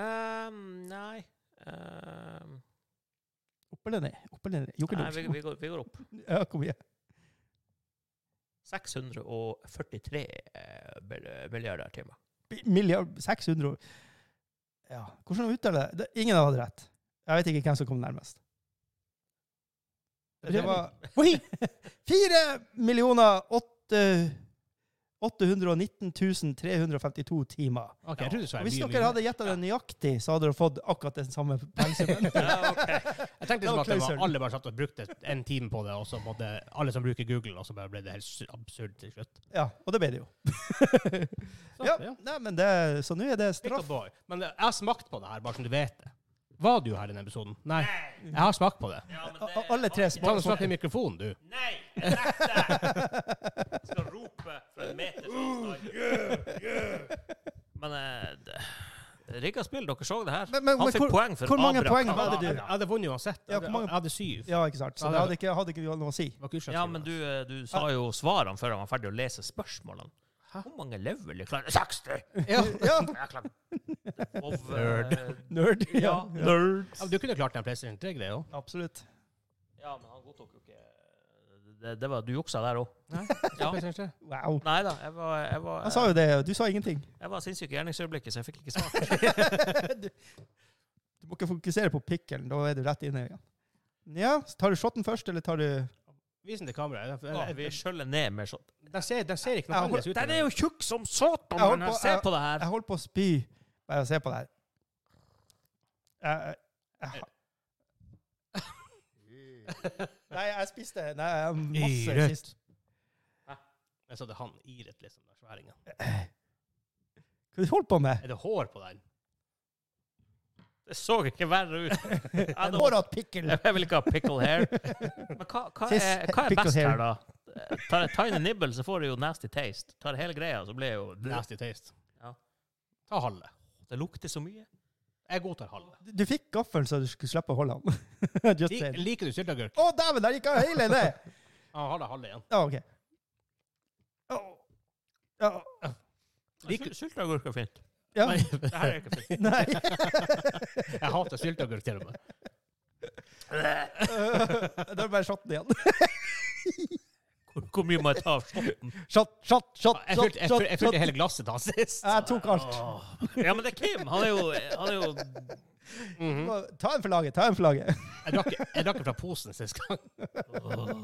Ehm, nei Ehm,
Opp eller ned? Opp eller ned? Jokke
Nei, vi,
ned.
vi, går, vi går opp.
<laughs> Ja, hvor mye?
643 eh, mil- milliarder timer.
Bi- Milliard 600 år. Ja. Hvordan uttaler jeg det? det? Ingen hadde rett. Jeg vet ikke hvem som kom nærmest. Det var Oi! 4 millioner åtte- 819 352 timer.
Ok, jeg trodde det var
Hvis
mye,
dere
mye.
hadde gjetta det nøyaktig, så hadde dere fått akkurat den samme poengsummen.
Ja, ok.
Jeg tenkte liksom
Da
at det var
klauser den.
alle bare satt og brukte en time på det, og så måtte alle som bruker Google, og så bare ble det helt sy- absurd til slutt.
Ja, og det ble det jo.
Så,
Ja, nei, men det, så nå er det
Pick
straff.
a boy. Men jeg har smakt på det her, bare som du vet det. Var du her i denne episoden? Nei. Jeg har smakt på det.
Ja, men
A-
det-
a- Alle tre
Kan du
smak.
snakke i mikrofonen, du?
Nei! Jeg nekter! Jeg skal rope fra en meters
Oh,
avstand. Men eh, d- rigga spill, dere så det her.
Men- men-
Han
men
fikk
hvor-
poeng for
hvor mange
Abra
poeng
Kadabra.
var det du-
Jeg hadde vunnet uansett.
Ja,
Jeg
hvor
hadde-
mange-
jeg hadde syv.
Ja, ikke sant. Så det hadde ikke, hadde ikke noe å si.
Det var ikke utslagsgivende.
Ja, men du, eh, du
Ah.
sa jo svarene før han var ferdig å lese spørsmålene. Hvor mange level klarer
60!
<laughs>
Ja,
Jeg
<laughs>
klarer
Vov, eh,
<laughs> Nerd.
Ja. Nerds.
Ja, men du kunne klart den PlayStation 3-greia òg.
Absolutt.
Ja, men han godtok jo ikke det, det var, Du juksa der òg.
Nei.
Ja.
Wow.
Nei da, jeg var, jeg var,
Han sa jo det, og du sa ingenting.
jeg var sinnssyk i gjerningsøyeblikket, så jeg fikk ikke svart.
du, du må ikke fokusere på pikkelen, da er du rett inne igjen. Ja, så tar du shotten først, eller tar du
Vis den til kameraet. Den- <laughs>
Å, Vi skjøller ned med sånn.
Den ser, den ser ikke
Ja,
noe annerledes ut. enn
Den er jo tjukk som satan!
Jeg holdt
men jeg
på-
ser-
Se på det her.
Jeg holder på å spy bare av å se på det her. Jeg,
<laughs>
jeg, jeg, nei, jeg spiste Nei, jeg har masse
Iret.
sist.
Jeg så det han iret, liksom. Den sværingen.
Hva er det du holder på med?
Er det hår på den?
Det så ikke verre ut. Ja, det
En
var-
borat pikkel.
Jeg vil ikke ha pickle hair. Men hva, hva,
Tiss,
er, hva er
pickle
best
hair.
her, da? Tar jeg tiny nibble, så får du jo nasty taste. Tar hele greia, så blir jeg jo
Nasty taste.
Ja.
Ta halve.
Det lukter så mye.
Jeg godtar halve.
Du fikk gaffelen så du skulle slippe å holde den. <laughs> Just
Lik,
saying.
liker du sylteagurk?
Å, dæven, der gikk jeg hele ned!
Ja, har da halve igjen.
Ja, OK. Å. Ja.
Liker-
Syl- Sylteagurk er fint.
Ja.
Nei,
Det her er ikke fint.
Nei.
<laughs>
<laughs>
jeg hater sylteagurk til og med.
Da er det bare shotten igjen.
Hvor, hvor mye må jeg ta av shotten?
Shot, shot, shot,
Jeg
shot.
fylte- Jeg
shot,
fylte- jeg
shot.
fylte hele glasset da sist.
Jeg tok alt.
Ja, men det er Kim. Han er jo, han er jo
Mhm.
Mm. Ta en for laget, ta en for laget.
Jeg drakk jeg drakk fra posen sist gang.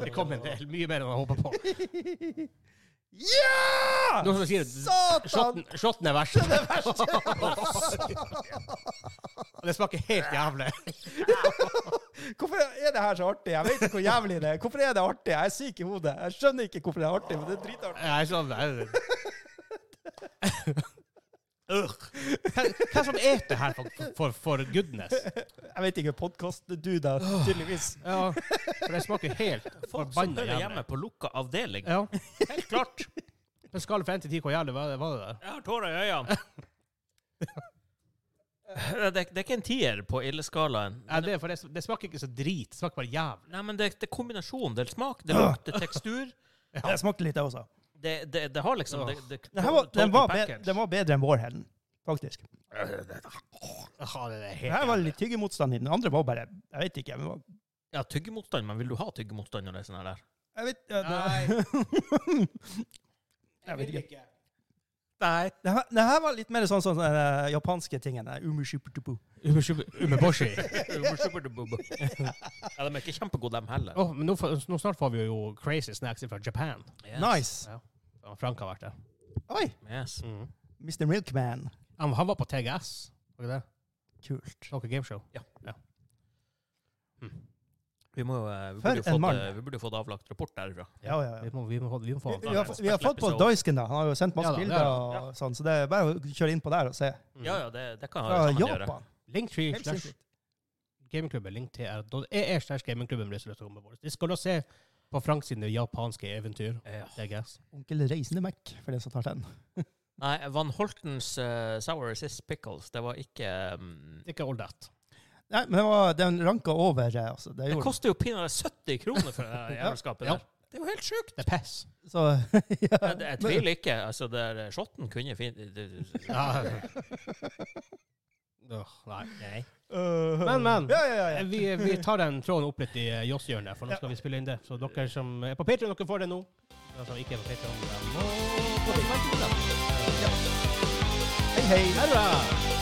Det kom en del, mye mer enn jeg håpa på.
Ja!
Noen som sier
Satan!
shotten, shotten er verst. Det <laughs> Det smaker helt jævlig.
Hvorfor er det her så artig? Jeg vet ikke hvor jævlig det er. Hvorfor er det artig? Jeg er syk i hodet. Jeg skjønner ikke hvorfor det er artig, men det er dritartig.
Nei, sånn er det. Ugh. Hvem hvem som eter her, for, for, for goodness?
Jeg vet ikke, podkast-duder, tydeligvis.
Ja, for det smaker
<laughs>
helt
Folk som
forbanna
hører
jævlig.
hjemme på lukka avdeling.
Ja.
Helt klart.
På en skala fra 1 til 10, hvor jævlig var det, var det der?
Jeg har tårer i
<laughs>
øynene. Eh, Det, det er ikke en tier på ille-skalaen.
Nei, det, er for det, det smaker ikke så drit. Det smaker bare jævlig.
Nei, men det, det er kombinasjonen. Det er smak, det lukter tekstur.
Det smakte litt, det også.
Det, det, det har liksom det, det,
Den, her var, den, var bedre,
package.
den var bedre enn Warhelden, faktisk.
Ja, det er
Den
helt
her var
jævlig.
litt tyggemotstand i den. Den andre var bare Jeg vet ikke. Men var,
Ja, tyggemotstand, men vil du ha tyggemotstand når det er sånn her der?
jeg vet, ja, det, <laughs> jeg vet ikke.
<laughs> Nei.
Den her, den her var litt mer sånn som sånn, eh, japanske tingene. Umushiputupu.
Umeshubu- Umeboshi.
ja, de er ikke kjempegode, dem heller.
Åh, men nå, får- nå snart får vi jo crazy snacks fra Japan.
Yes.
Nice.
Ja, Frank har vært der.
Oi!
Yes.
Mm. Mr. Milkman.
Han, han var på TGS. Var ikke det?
Kult.
Noe gameshow.
Vi, må, eh, vi,
For
burde jo
en
fått,
mann.
eh, vi burde jo fått avlagt rapport derifra.
Ja, ja, ja.
Vi må, vi må, få- vi må få
Vi har, vi har fått på Doisken, da. Han har jo sendt masse
Ja da, det
bilder,
har
og sånn, så det er bare å kjøre inn på der og se.
Ja, ja, det, det kan
Fra
ha sammen å gjøre.
Japan.
Linktree
Helt
slash
sinnssykt.
gamingklubben. Linktr.ee slash gamingklubben blir sluttet med vårt. Vi skal da se på Frank sine japanske eventyr.
Ja.
TGS.
Onkel Reisende Mac, for den som tar den.
Nei, Van Holtens eh, Sour Assist Pickles, det var ikke mm,
Ikke all that.
Nei, men det var, den ranka over, eh, altså. Det
Det
gjorde den.
koster jo pinadø 70 kroner for det der
Ja.
jævelskapet
Ja.
der. Det er jo helt sjukt.
Det er pess.
Så <laughs>
Jeg,
ja.
jeg tviler ikke. Altså, der eh, shotten kunne fint det- det-
Ja. Åh, nei.
Nei.
Øh,
Men, men.
Ja, ja, ja.
Vi, vi tar den tråden opp litt i eh, Joss-hjørnet, for nå skal vi spille inn det. Så dere som er på Patreon, dere får det nå. Dere som ikke er på Patreon, må få det.
Hei, hei.
Hurra!